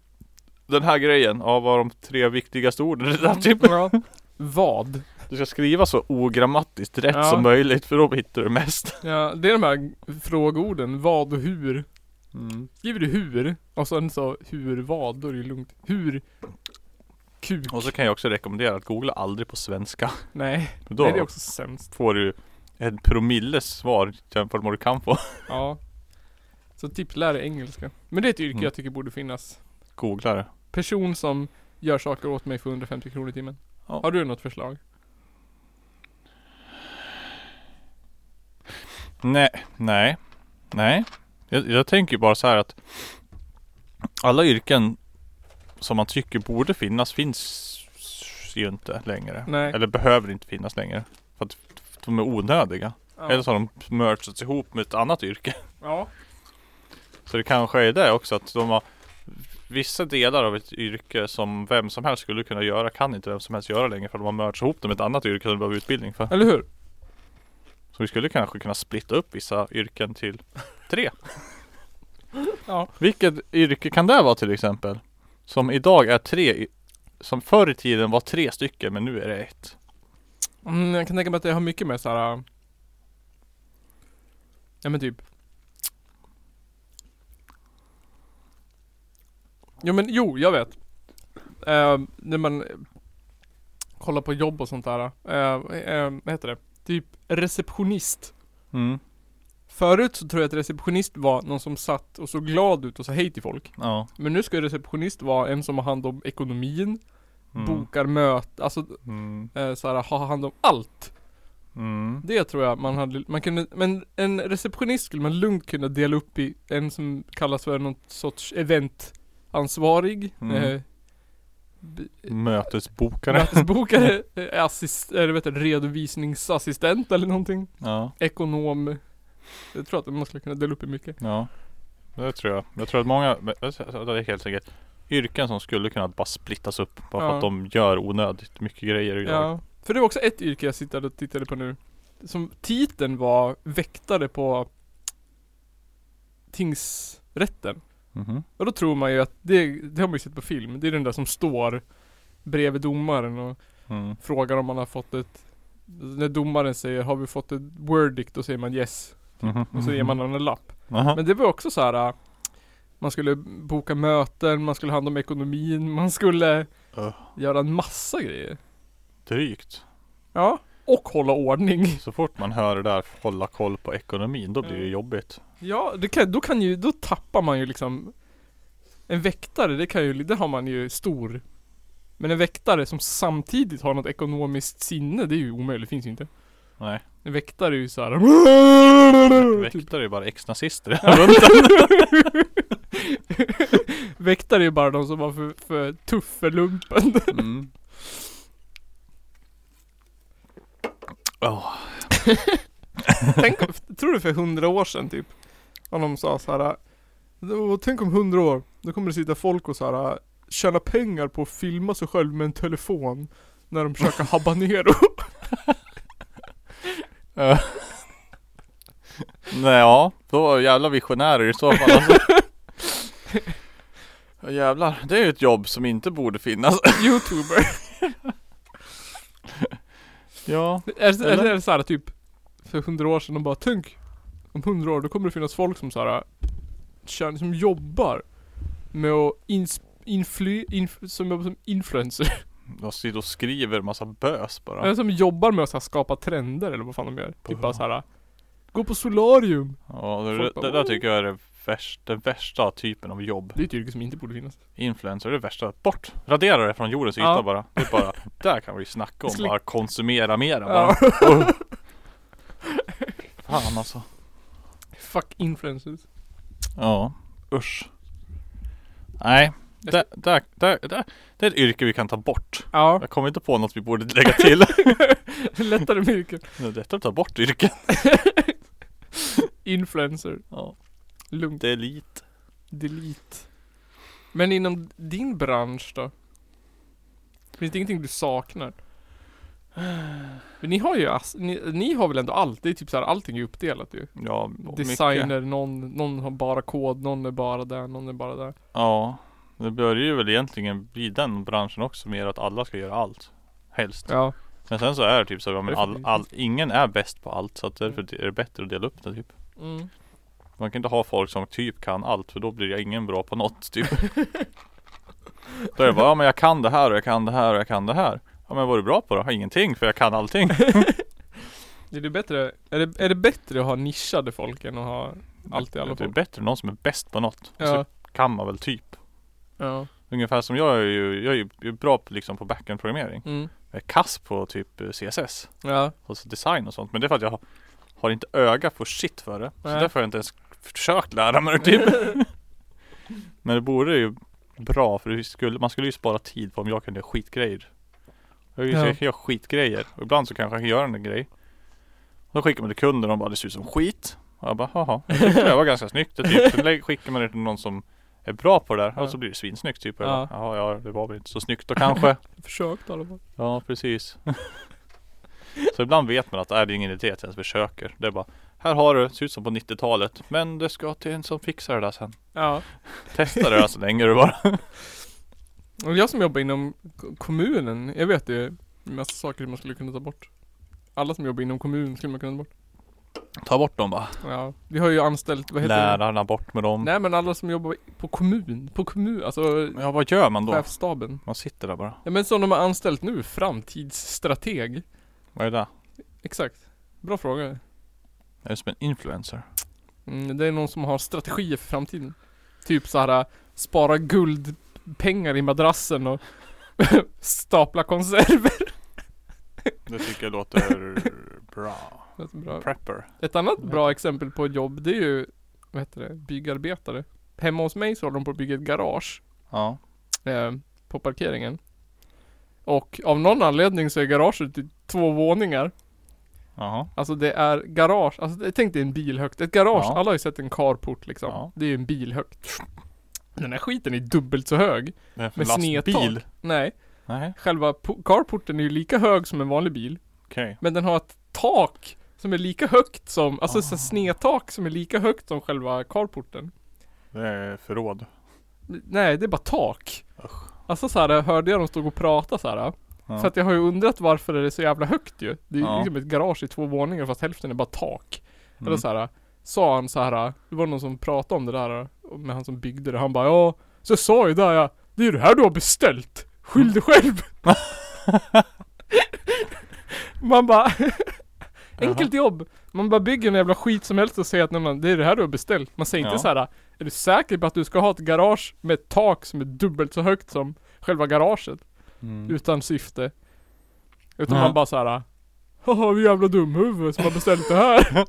Den här grejen, ja vad är de tre viktigaste orden? Det där typ. Ja. Vad? Du ska skriva så ogrammatiskt rätt Ja. som möjligt för då hittar du mest. Ja, det är de här frågeorden. Vad och hur. Skriver du hur och sen så hur vad, då är det ju lugnt. Hur kuk. Och så kan jag också rekommendera att googla aldrig på svenska. Nej, För då Nej, det är också sämst. får du en promilles svar jämfört med vad du kan få. Ja. Så typ lär dig engelska. Men det är ett yrke Mm. jag tycker borde finnas. Googla det. Person som gör saker åt mig för 150 kronor i timmen. Ja. Har du något förslag? Nej, nej, nej. Jag, jag tänker ju bara så här att alla yrken som man tycker borde finnas finns ju inte längre. Nej. Eller behöver inte finnas längre. För att de är onödiga. Ja. Eller så har de mergats ihop med ett annat yrke. Ja. Så det kanske är det också att de har Vissa delar av ett yrke som vem som helst skulle kunna göra kan inte vem som helst göra längre för de har mergat ihop det med ett annat yrke som de behöver utbildning för. Eller hur? Så vi skulle kanske kunna splitta upp vissa yrken till tre. Ja. Vilket yrke kan det vara till exempel? Som idag är tre, i- som förr i tiden var tre stycken men nu är det ett. Mm, jag kan tänka mig att det har mycket med såhär... äh, Ja men typ... Jo men jo, jag vet. Eh, när man eh, kollar på jobb och sånt där. eh, eh, vad heter det? Typ receptionist. Mm. Förut så tror jag att receptionist var någon som satt och såg glad ut och sa hej till folk. Ja. Men nu ska receptionist vara en som har hand om ekonomin, Mm. bokar möten, alltså Mm. eh, såhär, har hand om allt. Mm. Det tror jag man hade, man kunde, men en receptionist skulle man lugnt kunna dela upp i en som kallas för någon sorts eventansvarig, Mm. eh, b- Mötesbokare. mötesbokare, eh, assist, eller vet du, redovisningsassistent eller någonting, Ja. ekonom. Jag tror att man skulle kunna dela upp i mycket. Ja. Det tror jag. Jag tror att många, men jag tror att det är helt säkert yrken som skulle kunna bara splittas upp. Bara Ja. för att de gör onödigt mycket grejer idag. Ja. För det var också ett yrke jag sittade och tittade på nu. Som titeln var väktare på tingsrätten. Mhm. Och då tror man ju att det, det har man ju sett på film. Det är den där som står bredvid domaren och Mm. frågar om man har fått ett när domaren säger har vi fått ett verdict? Då säger man yes. Mhm. Mm. Och så ger man honom en lapp. Jaha. Men det var också så här. äh, Man skulle boka möten, man skulle handla om ekonomin, man skulle Öh. göra en massa grejer. Drygt. Ja. Och hålla ordning. Så fort man hör det där hålla koll på ekonomin, då blir det jobbigt. Ja, det kan, då kan ju, då tappar man ju liksom En väktare, det kan ju, det har man ju stor Men en väktare som samtidigt har något ekonomiskt sinne, det är ju omöjligt, det finns ju inte Nej. En väktare är ju såhär typ. Väktare är ju bara ex-nazister i den här bunten. Väktare är ju bara de som var för, för tuff för lumpen Mm. Åh, Tänk, om- tror du för hundra år sedan typ? Om de sa såhär "Då- Tänk om hundra år, då kommer det sitta folk och såhär Tjäna pengar på att filma sig själv med en telefon När de försöker habanero Nej, ja. Då var det jävla visionärer i så fall alltså. Ja, Jävlar, det är ju ett jobb som inte borde finnas. Youtuber Ja. Är, är, Eller? är det såhär typ För hundra år sedan de bara tänk Om hundra år då kommer det finnas folk som såhär Kör, som jobbar Med att ins, infly, inf, som jobbar som influencer De sitter och skriver massa bös bara. Eller som jobbar med att så här, skapa trender eller vad fan de gör Typ Bra. bara såhär Gå på solarium Ja, det, Folk bara, det där tycker jag är det värsta, den värsta typen av jobb. Det är ett yrke som inte borde finnas Influencer är det värsta. Bort! Radera det från jordens yta Ja. bara. Det är bara, där kan vi snacka om Slick. bara konsumera mera bara. Ja. Uh. Fan alltså. Fuck influencers Ja, usch. Nej, där, där, där, där. det är ett yrke vi kan ta bort. Ja, Jag kommer inte på något vi borde lägga till. lättare med yrken Det är lättare att ta bort yrken. Influencer, Ja, lugnt, det är lite. delete Men inom din bransch då? Finns det ingenting du saknar? Men ni har ju, ass- ni, ni har väl ändå allt? Det är typ såhär, allting är uppdelat ju Ja, mycket. Designer, någon, någon har bara kod, någon är bara där, någon är bara där Ja, det börjar ju väl egentligen bli den branschen också mer att alla ska göra allt. Helst. Ja Men sen så är Mm. det typ så, ja, men Därför all, blir det all, ingen är bäst på allt så att därför är det bättre att dela upp det typ. mm. Man kan inte ha folk som typ kan allt för då blir jag ingen bra på något typ. då är det bara, ja men jag kan det här och jag kan det här och jag kan det här. Ja men vad är du bra på då? Ja, Ingenting för jag kan allting. Är det bättre, är det, är det bättre att ha nischade folk än att ha allt i alla Det är typ folk? bättre än någon som är bäst på något. Och Ja, Så kan man väl typ. ja, Ungefär som jag är ju, jag är ju- jag är bra på, liksom på backend programmering. mm. Jag är kass på typ eh, CSS. ja, alltså design och sånt. Men det är för att jag har, har inte öga för shit för det. Så Nej. därför har jag inte ens försökt lära mig det typ. Men det vore ju bra för det skulle, man skulle ju spara tid på om jag kunde göra skitgrejer. Jag kan ju- Ja. jag kan göra skitgrejer och ibland så kanske jag kan göra en grej. Och då skickar man till kunden och de bara det ser ut som skit. Och jag bara haha, jag tyckte det var ganska snyggt. Det typ. Sen lä- skickar man det till någon som är bra på det där Ja. och så blir det svinsnyggt typ. Och Ja. jag bara, ja, ja, det var väl inte så snyggt då kanske. försökt i alla fall Ja, precis. så ibland vet man att äh, det är ingen idé att jag ens försöker. Det är bara, här har du, ser ut som på 90-talet. Men det ska till en som fixar det där sen. Ja Testa det där så länge du bara. Och jag som jobbar inom k- kommunen, jag vet ju en massa saker man skulle kunna ta bort. Alla som jobbar inom kommunen skulle man kunna ta bort. Ta bort dem bara. Ja, vi har ju anställt, vad heter det? Lärarna bort med dem. Nej men alla som jobbar på kommun, på kommun, alltså Ja, vad gör man då? chefsstaben. Man sitter där bara. Ja men som de har anställt nu, framtidsstrateg. Vad är det där? Exakt. Bra fråga. Är det som en influencer? Mm, det är någon som har strategier för framtiden. Typ så här spara guldpengar i madrassen och stapla konserver. Det tycker jag låter bra. Det är Alltså, bra. Prepper. Ett annat bra exempel på ett jobb det är ju, vad heter det, byggarbetare. Hemma hos mig så håller de på att bygga ett garage Ja. eh, på parkeringen. Och av någon anledning så är garaget i två våningar. Jaha. Alltså det är garage, alltså det- tänk dig en bil högt. Ett garage, Ja. alla har ju sett en carport liksom. Ja. Det är ju en bil högt. Den här skiten är dubbelt så hög. Det är för Med snedtak. lastbil. Nej, Nej. själva po- carporten är ju lika hög som en vanlig bil. Okej. Men den har ett tak som är lika högt som, alltså Ah. oh. snedtak som är lika högt som själva carporten. Det är förråd. Nej, det är bara tak. Alltså så här hörde jag dem stå och prata så här. Ja. Så att jag har ju undrat varför det är så jävla högt ju. Det är ju Ja. liksom ett garage i två våningar fast hälften är bara tak. Mm. Eller så här. Sa han så här. Det var någon som pratade om det där. med han som byggde det, han bara ja, så jag sa ju där jag, det är ju det här du har beställt. Skyll dig själv. man bara, enkelt jobb. Man bara bygger en jävla skit som helst och säger att nej, men, det är det här du har beställt. Man säger inte Ja. så här, är du säker på att du ska ha ett garage med ett tak som är dubbelt så högt som själva garaget? Mm. Utan syfte. Utan Ja. man bara såhär Haha vi jävla dumhuvud som har beställt det här.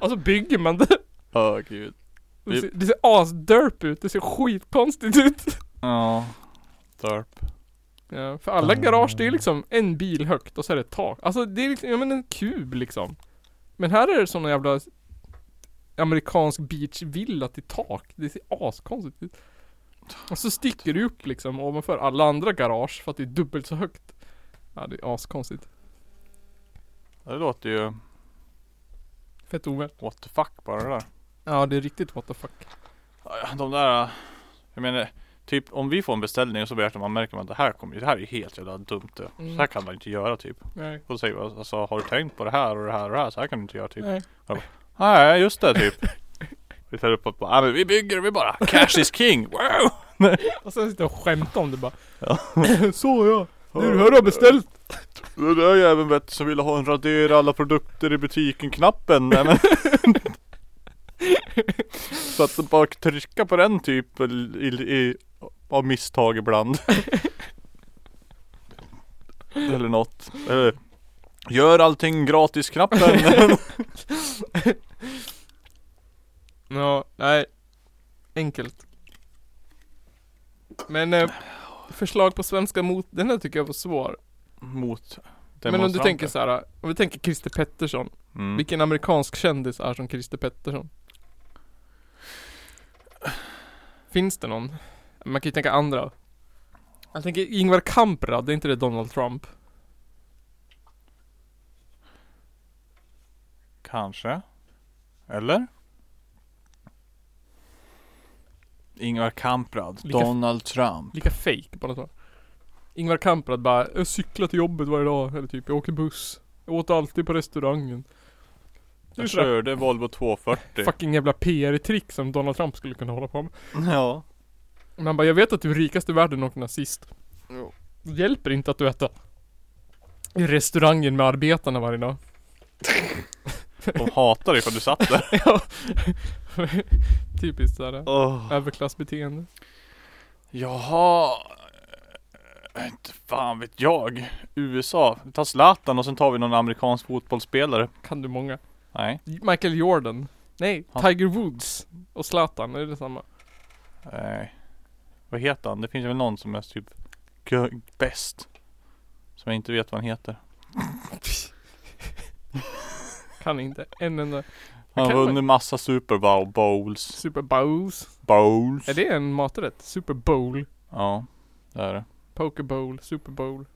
och så bygger man det. Åh gud. Det ser, det ser asderp ut, det ser skitkonstigt ut. Ja. Derp. Ja, för alla garage det är liksom en bil högt och så är det ett tak. Alltså det är liksom, ja men en kub liksom. Men här är det som en jävla Amerikansk beachvilla till tak. Det ser askonstigt ut. Och så sticker det upp liksom ovanför alla andra garage för att det är dubbelt så högt. Ja det är askonstigt. Det låter ju Fett ovä. what the fuck bara det där. Ja det är riktigt what the fuck. Ja, De där, äh, jag menar, typ om vi får en beställning och så börjar man märker man att det här kommer ju, det här är ju helt jävla dumt det. Mm. Så här kan man inte göra typ. Nej. Och så säger man alltså, har du tänkt på det här och det här och det här? Så här kan du inte göra typ. Nej. Nej, just det typ. Vi tar upp och bara, "Ah, men vi bygger vi bara, cash is king! Wow! Och sen sitter jag och skämtar om det bara. Ja. Så ja. Det är det här du har beställt. Den där jäveln vet du, som ville ha en radera alla produkter i butiken knappen. Nej, men. så att de bara trycka på den typ i, i, i, av misstag ibland. Eller något. Eller, gör allting gratis knappen. Ja, nej. Enkelt. Men eh, förslag på svenska mot, den här tycker jag var svår. Mot Men om du tänker så här, om vi tänker Christer Pettersson. Mm. Vilken amerikansk kändis är som Christer Pettersson? Finns det någon? Man kan ju tänka andra. Jag tänker Ingvar Kamprad, det är inte det Donald Trump? Kanske. Eller? Ingvar Kamprad, Lika- Donald Trump. Lika fake på något sätt. Ingvar Kamprad bara, jag cyklar till jobbet varje dag. Eller typ, jag åker buss. Jag åt alltid på restaurangen. Det är Jag sådär körde Volvo 240. fucking jävla PR-trick som Donald Trump skulle kunna hålla på med. Ja. Men han bara, jag vet att du är rikast i världen och nazist. Det hjälper inte att du äter i restaurangen med arbetarna varje dag. De hatar dig för att du satt där. Ja. Typiskt sådär. Oh. Överklassbeteende. Jaha. Eh, Inte fan vet jag. USA. Vi tar Zlatan och sen tar vi någon amerikansk fotbollsspelare. Kan du många? Nej. Michael Jordan. Nej, Han- Tiger Woods. Och Zlatan, är det samma? Nej. Vad heter han? Det finns väl någon som är typ gö- bäst. Som jag inte vet vad han heter. Kan inte. En enda. Han har kan vunnit massa Super Bowl- Bowls. Super Bowls. Bowls. Är det en maträtt? Super Bowl. Ja. Det är det. Poker Bowl. Super Bowl.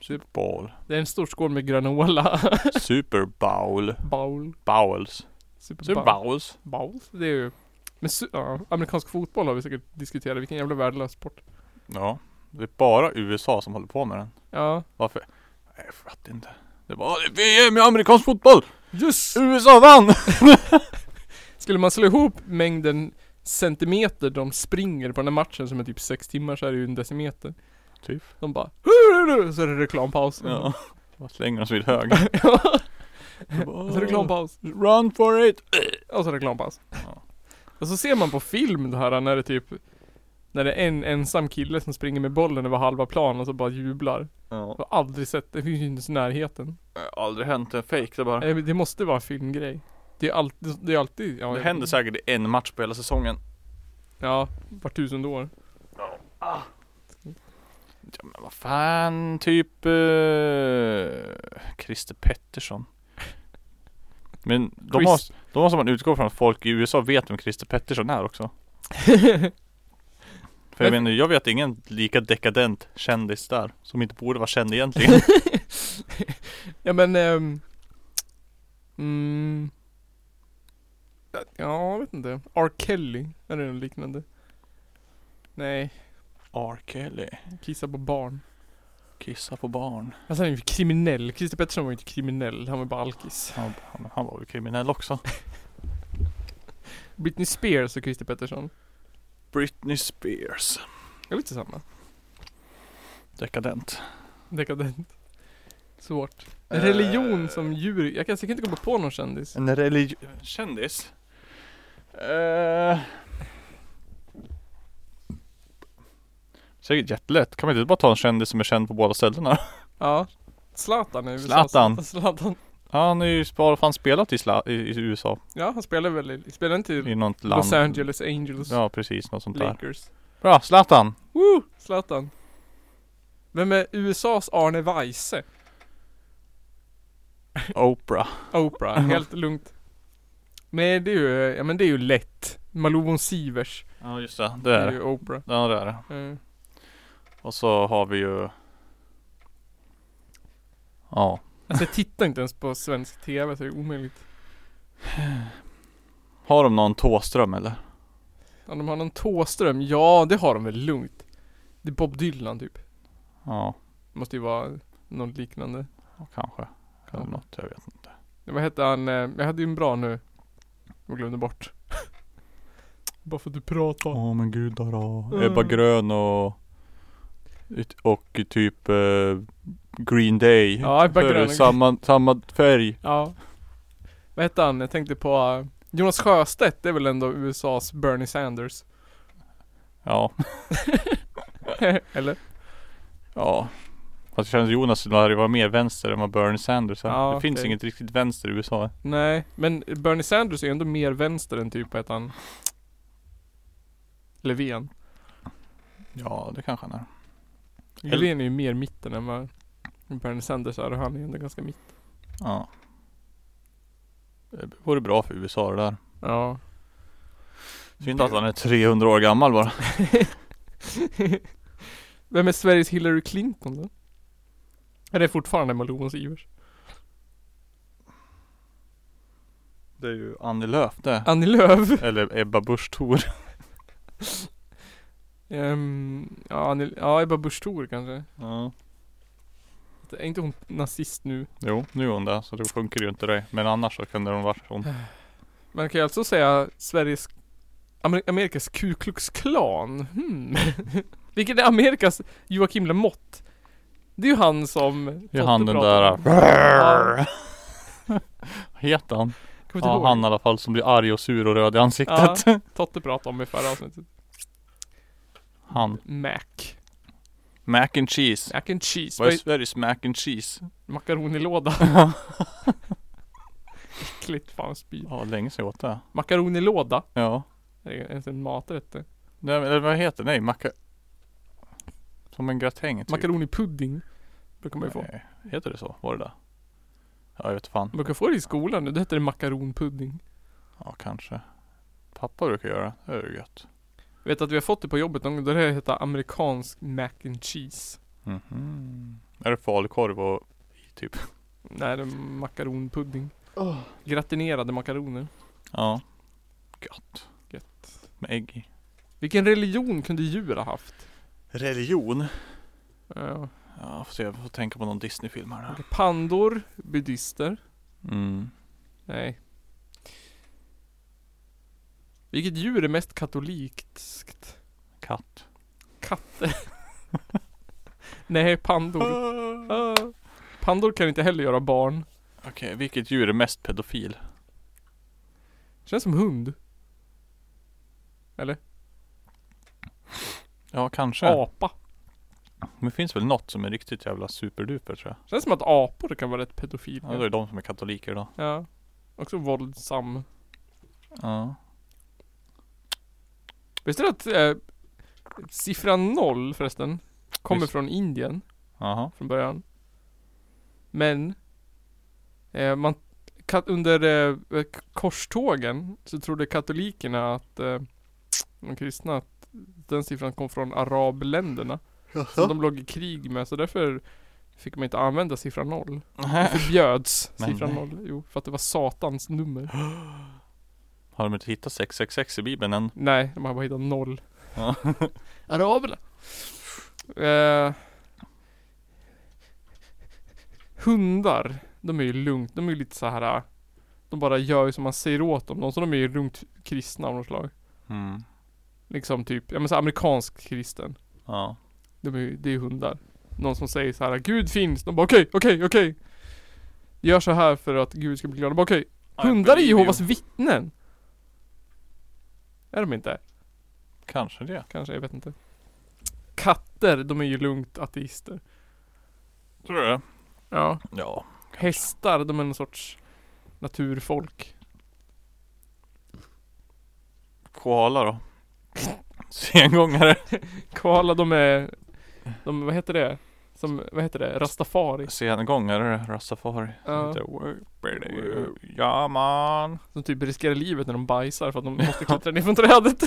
Super Bowl. Det är en stor skål med granola. Super Bowl. Bowl. Bowls. Super Super Bowl. Bowls. Bowls. Det är ju... Men su- ja, amerikansk fotboll har vi säkert diskuterat. Vilken jävla värdelös sport. Ja. Det är bara USA som håller på med den. Ja. Varför? Nej, Jag fattar inte. Det var "Det är VM i amerikansk fotboll! Yes! USA vann! Skulle man slå ihop mängden centimeter de springer på den här matchen som är typ sex timmar så är det ju en decimeter. Typ. De bara "Hurru!" Så är det reklampaus. Ja. Vad slänger de sig vid höger? Och så reklampaus. Run for it! Och så Alltså, reklampaus. Ja. Och så ser man på film det här när det typ när det är en ensam kille som springer med bollen över halva planen och så bara jublar. Ja. Jag har aldrig sett, det finns ju inte ens i närheten. Aldrig hänt en fake det bara. Eh, men Det måste vara en filmgrej. Det är alltid, det är alltid, ja, Det händer säkert i en match på hela säsongen. Ja, var tusende år. Ja, men vad fan, typ eh, Christer Pettersson. Men de, Chris. har, de måste man utgå från att folk i USA vet vem Christer Pettersson är också. För jag Men- menar, jag vet ingen lika dekadent kändis där som inte borde vara känd egentligen. Ja men ehm, mm, Ja, jag vet inte. R. Kelly, är det något liknande? Nej, R. Kelly, kissa på barn. kissa på barn. Alltså han är ju kriminell. Christer Pettersson var ju inte kriminell, han var bara alkis. Han, han, han var väl kriminell också. Britney Spears och Christer Pettersson. Britney Spears. Det är lite samma. Dekadent. Dekadent. Svårt. En religion Eh. som djur. Jag kan säkert inte komma på någon kändis. En religion... Kändis? Eh. Säkert jättelätt. Kan man inte bara ta en kändis som är känd på båda ställena? Ja. Zlatan är i USA. Zlatan. Zlatan. Han är ju bara fan spelat i, sla- i, i USA. Ja, han spelar väl i, spelar inte i I något land. Los Angeles Angels. Ja precis, något sånt där. Lakers. Bra, Zlatan! Woo! Zlatan. Vem är USAs Arne Weise? Oprah. Oprah, helt lugnt. Men det är ju, ja men det är ju lätt. Malou von Sivers Ja just det, det är är det. ju Oprah. Ja det är det. Eh, Och så har vi ju... Ja. Alltså jag tittar inte ens på svensk TV så det är omöjligt. Har de någon Tåström eller? Om de har någon Tåström, ja det har de väl lugnt. Det är Bob Dylan typ. Ja, Måste ju vara något liknande. kanske. Eller Kanske. något, jag vet inte. Ja, Vad hette han? eh, Jag hade ju en bra nu. Jag glömde bort. Bara för att du pratar. Åh men gudarna. Mm. Ebba Grön och... ut- Och typ eh, Green Day. Ja, Ebba För Grön och- Samma, samma färg. Ja. Vad hette han? Jag tänkte på eh, Jonas Sjöstedt det är väl ändå USAs Bernie Sanders? Ja. Eller? Ja. Fast det känns Jonas lär ju vara mer vänster än vad Bernie Sanders är. Ja, det finns okej. inget riktigt vänster i USA. Nej, men Bernie Sanders är ju ändå mer vänster än typ vad heter han? Löfven. Ja, det kanske han är. Eller- Löfven är ju mer mitten än vad Bernie Sanders är och han är ju ändå ganska mitt. Ja. Det vore bra för USA det där. Ja. Synd att han är 300 år gammal bara. Vem är Sveriges Hillary Clinton då? Är det fortfarande Malou von Sivers? Det är ju Annie Lööf det. Annie Lööf? Eller Ebba Busch Thor. Ehm, ja, Annie, ja, Ebba Busch Thor kanske. Ja. Är inte hon nazist nu? Jo, nu är hon det. Så det funkar ju inte det. Men annars så kunde hon varit Eh, hon. Man kan ju alltså säga Sveriges Amer Amerikas Ku Klux Klan. Hmm. Vilket är Amerikas Joakim Lamotte. Det är ju han som Det är Totte han den pratar där. om. Vad heter han? Kommer inte Ja, ihåg. han i alla fall som blir arg och sur och röd i ansiktet. Totte pratade om i förra avsnittet. Han. Mac. Mac and cheese. Mac and cheese. Vad är Vad Sveriges mac and cheese? är- Makaronilåda. Äckligt fan jag spyr. Ja, länge sedan jag åt det. Makaronilåda. Ja. Är det ens en Typ. maträtt det? Nej, men, eller vad heter det? Nej, macka... Som en gratäng typ. Makaronipudding. Brukar man ju få. Nej, heter det så? Var det det? Ja, jag vet fan. Man brukar få det i skolan nu. Det heter det makaronpudding. Ja, kanske. Pappa brukar göra det. Det är ju gött. Jag vet att vi har fått det på jobbet någon gång. Då det heter amerikansk mac and cheese. Mhm. Är det falukorv och typ? Nej, det är makaronpudding. Gratinerade makaroner. Ja. Gött. Gött. Med ägg i. Vilken religion kunde djur ha haft? Eh, Religion? Ja. Ja, får se. Jag får tänka på någon Disney-film här nu. Pandor, buddhister. Mm. Nej. Vilket djur är mest katolikt? Katt. Katter. Nej, pandor. Ah. Pandor kan inte heller göra barn. Okej, vilket djur är mest pedofil? Känns som hund. Ja, kanske. Apa. Men det finns väl något som är riktigt jävla superduper tror jag. Känns som att apor kan vara rätt pedofila. Ja, det är de som är katoliker då. ja. Också våldsam. Ja. Visste du att eh, siffran noll förresten kommer Visst. från Indien Jaha. från början? Men eh, man, ka- under eh, k- korstågen så trodde katolikerna att eh, de kristna att den siffran kom från arabländerna som de låg i krig med så därför fick man inte använda siffran noll. Det förbjöds Men siffran nej. noll. Jo, för att det var satans nummer. Har de inte hittat 666 i bibeln än? Nej, de har bara hittat noll. Ja. Araberna. Eh, hundar, de är ju lugnt. De är ju lite så här. De bara gör ju som man säger åt dem. De som de är ju lugnt kristna av något slag. Mm. Liksom typ, ja men så här amerikansk kristen. Ja. De är ju, det är ju hundar. Någon som säger så här: Gud finns. De bara okej, okej, okej. Gör så här för att Gud ska bli glad. De bara okej. Hundar är believe you. Jehovas vittnen. Är de inte? Kanske det. Kanske, jag vet inte. Katter, de är ju lugnt ateister. Tror du det? Ja. Ja. Hästar, de är någon sorts naturfolk. Koala då? Sengångare. Koala, de är... De, vad heter det? Som, vad heter det? Rastafari. Sengångare, rastafari. Ja. Ja man. Som typ riskerar livet när de bajsar för att de måste klättra ner från trädet.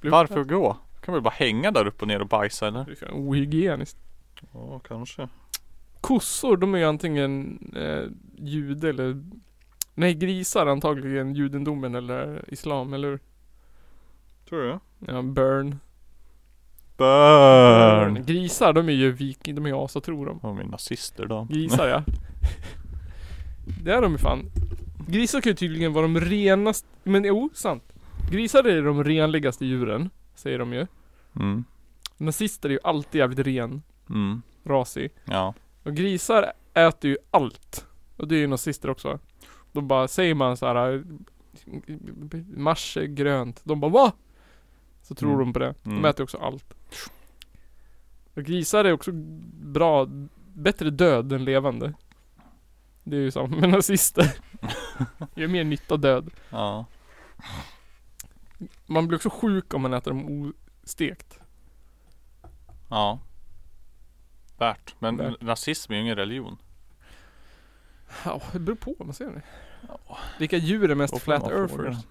Blir Varför gå? Kan vi bara hänga där upp och ner och bajsa eller? Det är fan Ohygieniskt. Ja, kanske. Kossor, de är ju antingen eh, jude eller... Nej, grisar antagligen judendomen eller islam, eller hur? Tror du det? Ja, burn. Burn! Grisar, de är ju viking, de är ju asa tror de. De är nazister då. Grisar ja. Det är de ju fan. Grisar kan ju tydligen vara de renaste, men jo, sant. Grisar är de renligaste djuren, säger de ju. Mm. Nazister är ju alltid jävligt ren, Mm. rasig. Ja. Och grisar äter ju allt. Och det är ju nazister också. De bara, säger man så här Mars är grönt. De bara va? Så tror Mm. de på det. De Mm. äter också allt. Och grisar är också bra, bättre död än levande. Det är ju samma med nazister. Gör mer nytta död. Ja. Man blir också sjuk om man äter dem ostekt. Ja. Värt. Men Värt. nazism är ju ingen religion. Ja, det beror på vad man ser det. Vilka djur är mest Och flat man frågar. earthers?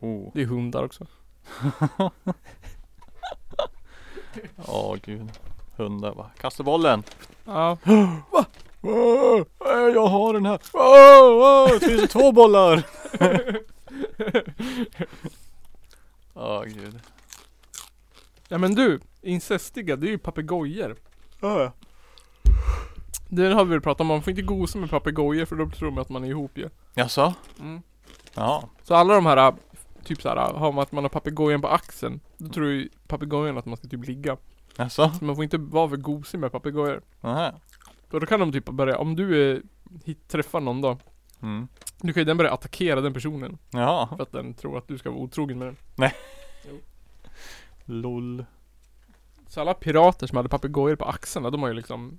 Oh. Det är hundar också. Ja, gud. Hundar va. Kasta bollen! Ja, Åh, jag har den här! Åh, åh, det finns två bollar! Ja, gud. Ja men du, incestiga, det är ju papegojor. Ja, Det har vi väl pratat om, man får inte gosa med papegojor för då tror de att man är ihop ju. Jaså? Ja. Så alla de här, typ såhär, har man att man har papegojan på axeln, då tror ju papegojan att man ska typ ligga. Jaså? Så man får inte vara för gosig med papegojor. Nähä. Och då kan de typ börja, om du eh, hit, träffar någon då, Mm. du kan ju den börja attackera den personen Ja. för att den tror att du ska vara otrogen med den. LOL. Så alla pirater som hade papegojor på axlarna, de har ju liksom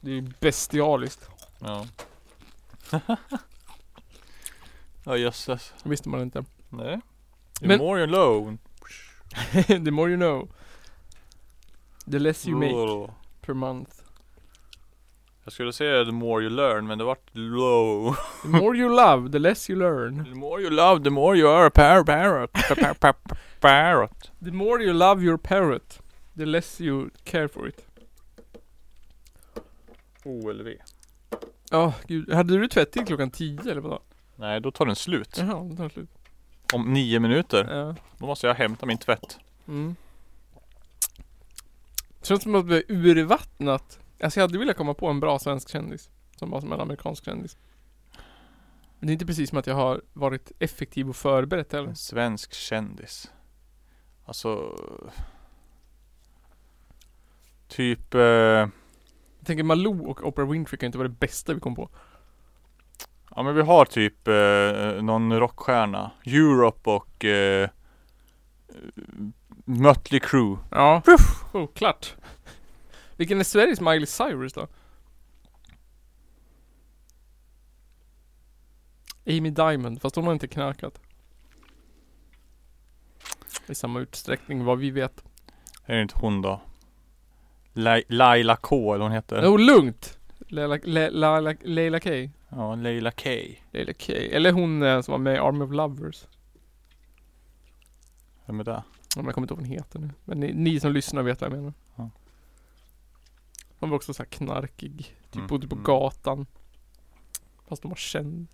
Det är ju bestialiskt. Ja. Ja jösses. Det visste man inte. Nej. You Men- more you alone. The more you know. The less you make per month. Jag skulle säga the more you learn men det vart low. The more you love, the less you learn. The more you love the more you are a par parrot. Pa- pa- pa- pa- Parrot. The more you love your parrot, the less you care for it. OLV. Ja, gud. Hade du tvätt till klockan 10 eller vadå? Nej då tar den slut. Jaha, det tar slut. Om nio minuter. Ja. Då måste jag hämta min tvätt. Mm. Känns som att vi är urvattnat. Alltså jag hade velat komma på en bra svensk kändis. Som var som en amerikansk kändis. Men det är inte precis som att jag har varit effektiv och förberett heller. En svensk kändis. Alltså... Typ... Eh, Jag tänker Malou och Oprah Winfrey kan ju inte vara det bästa vi kom på. ja men vi har typ eh, någon rockstjärna. Europe och... Eh, Mötley Crüe. Ja. Oh, klart. Vilken är Sveriges Miley Cyrus då? Amy Diamond, fast hon har inte knarkat. I samma utsträckning vad vi vet. Är det inte hon då? Lai- Laila K eller hon heter? Jo, lugnt! Leila, Le, Laila, Leila K. Ja, Leila K. Leila K. Eller hon eh, som var med i Army of Lovers. Vem är det? Ja, men Jag kommer inte ihåg vad hon heter nu. Men ni, ni som lyssnar vet vad jag menar. Ja. Hon var också så här knarkig. Typ Mm, bodde på mm. gatan. Fast hon var känd.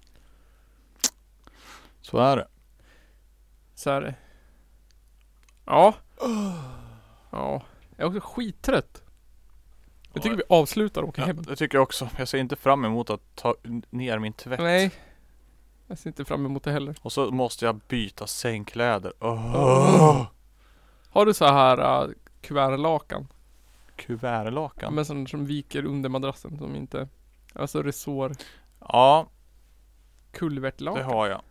Så är det. Så här. eh. Ah. Ja. Ja. Jag är också skittrött. Jag tycker vi avslutar och åker Ja, hem. det tycker jag också. Jag ser inte fram emot att ta ner min tvätt. Nej. Jag ser inte fram emot det heller. Och så måste jag byta sängkläder. Åh! Har du så här uh, kuvertlakan? Kuvertlakan. Men som, som viker under madrassen som inte... Alltså resår... Ja, det Kulvertlakan. har jag.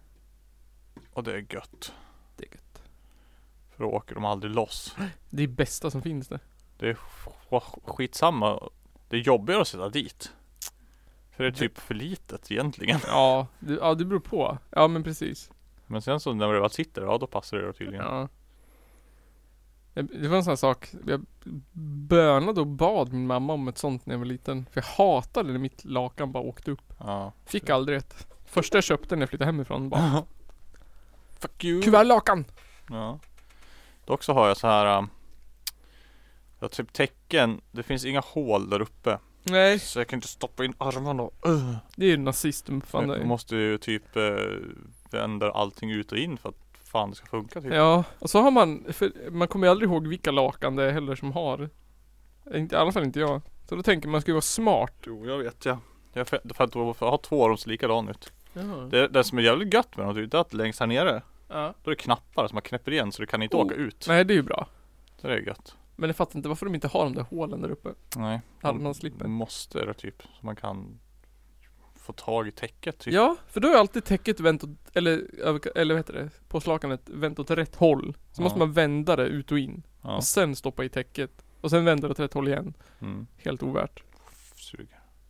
Och det är gött. Det är gött. För då åker de aldrig loss. Det är bästa som finns det. Det är sk- skitsamma. Det är jobbigare att sätta dit. För det är typ för litet egentligen. Ja, det, ja, det beror på. Ja men precis. Men sen så när det väl sitter, ja då passar det då tydligen. Ja. Det- Det var en sån här sak, jag bönade och bad min mamma om ett sånt när jag var liten. För jag hatade när mitt lakan bara åkte upp. Ja. Fick aldrig ett. Första jag köpte när jag flyttade hemifrån bara Fuck you! Kuvertlakan! Ja. Dock så har jag så här. ähm, Jag har typ tecken. Det finns inga hål där uppe. Nej, Så jag kan inte stoppa in armarna. Uh. det är ju nazist fan Jag det. måste ju typ eh, vända allting ut och in för att fan det ska funka typ. Ja, och så har man, för man kommer ju aldrig ihåg vilka lakan det är heller som har. Eh, Inte, I alla fall inte jag. Så då tänker man ska ju vara smart. Jo, jag vet ja. Jag för, för att då- för jag har två av dem ser likadana ut. Jaha. Det, det som är jävligt gött med dem det är att längst här nere Ja. Då är det knappar som man knäpper igen så du kan inte Oh. åka ut. Nej det är ju bra. Det är gött. Men jag fattar inte varför de inte har de där hålen där uppe. Nej. Hade man slipper. Man måste det typ. Så man kan få tag i täcket typ. Ja, för då är alltid täcket vänt åt, eller, över- eller vad heter det? Påslakanet vänt åt rätt håll. Så Ja. måste man vända det ut och in. Ja. Och sen stoppa i täcket. Och sen vända det åt rätt håll igen. Mm. Helt ovärt. Sug.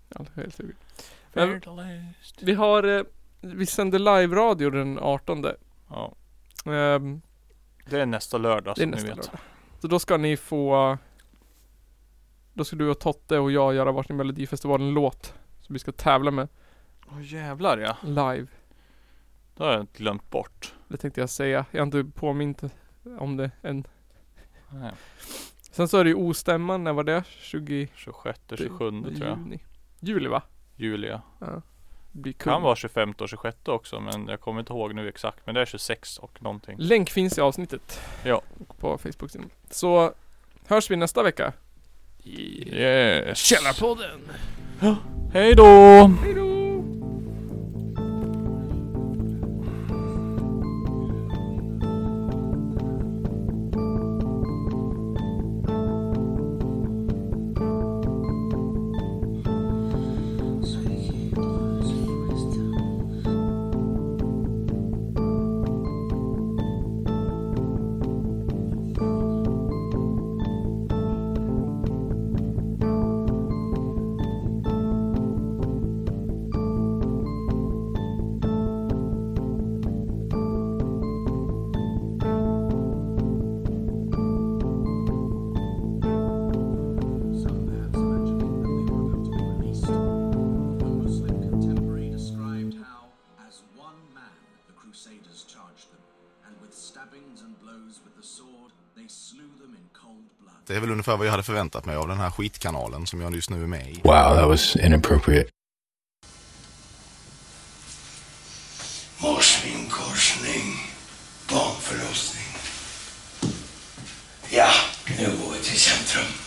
Ja, helt sugigt. Men- Fertilized. Vi har, eh, vi sänder live-radio den 18. Ja. Ehm, Det är nästa lördag det är som ni nästa vet. lördag. Så då ska ni få Då ska du och Totte och jag göra varsin Melodifestivalen-låt. Som vi ska tävla med Åh jävlar ja. live. Det har jag glömt bort. Det tänkte jag säga. Jag har inte påmint om det än. Nej. Sen så är det ju ostämman, när var det? 20... 26, 27 tror jag. Juni. Juli va? Julia. Blir kul. Kan vara 25 och 26 också men jag kommer inte ihåg nu exakt. Men det är 26 och någonting. Länk finns i avsnittet. Ja. På Facebook-sidan. Så hörs vi nästa vecka. Yes. Källarpodden! Hej då! Hejdå! Some maps mentioning that they were going to be released. A Muslim contemporary described how, as one man, the Crusaders charged them, and with stabbings and blows with the sword, they slew them in cold blood. Det är väl ungefär vad jag hade förväntat mig av den här skitkanalen som jag just nu är med i. Wow, that was inappropriate. Morsning, korsning, barnförlossning. Ja, nu går vi till centrum.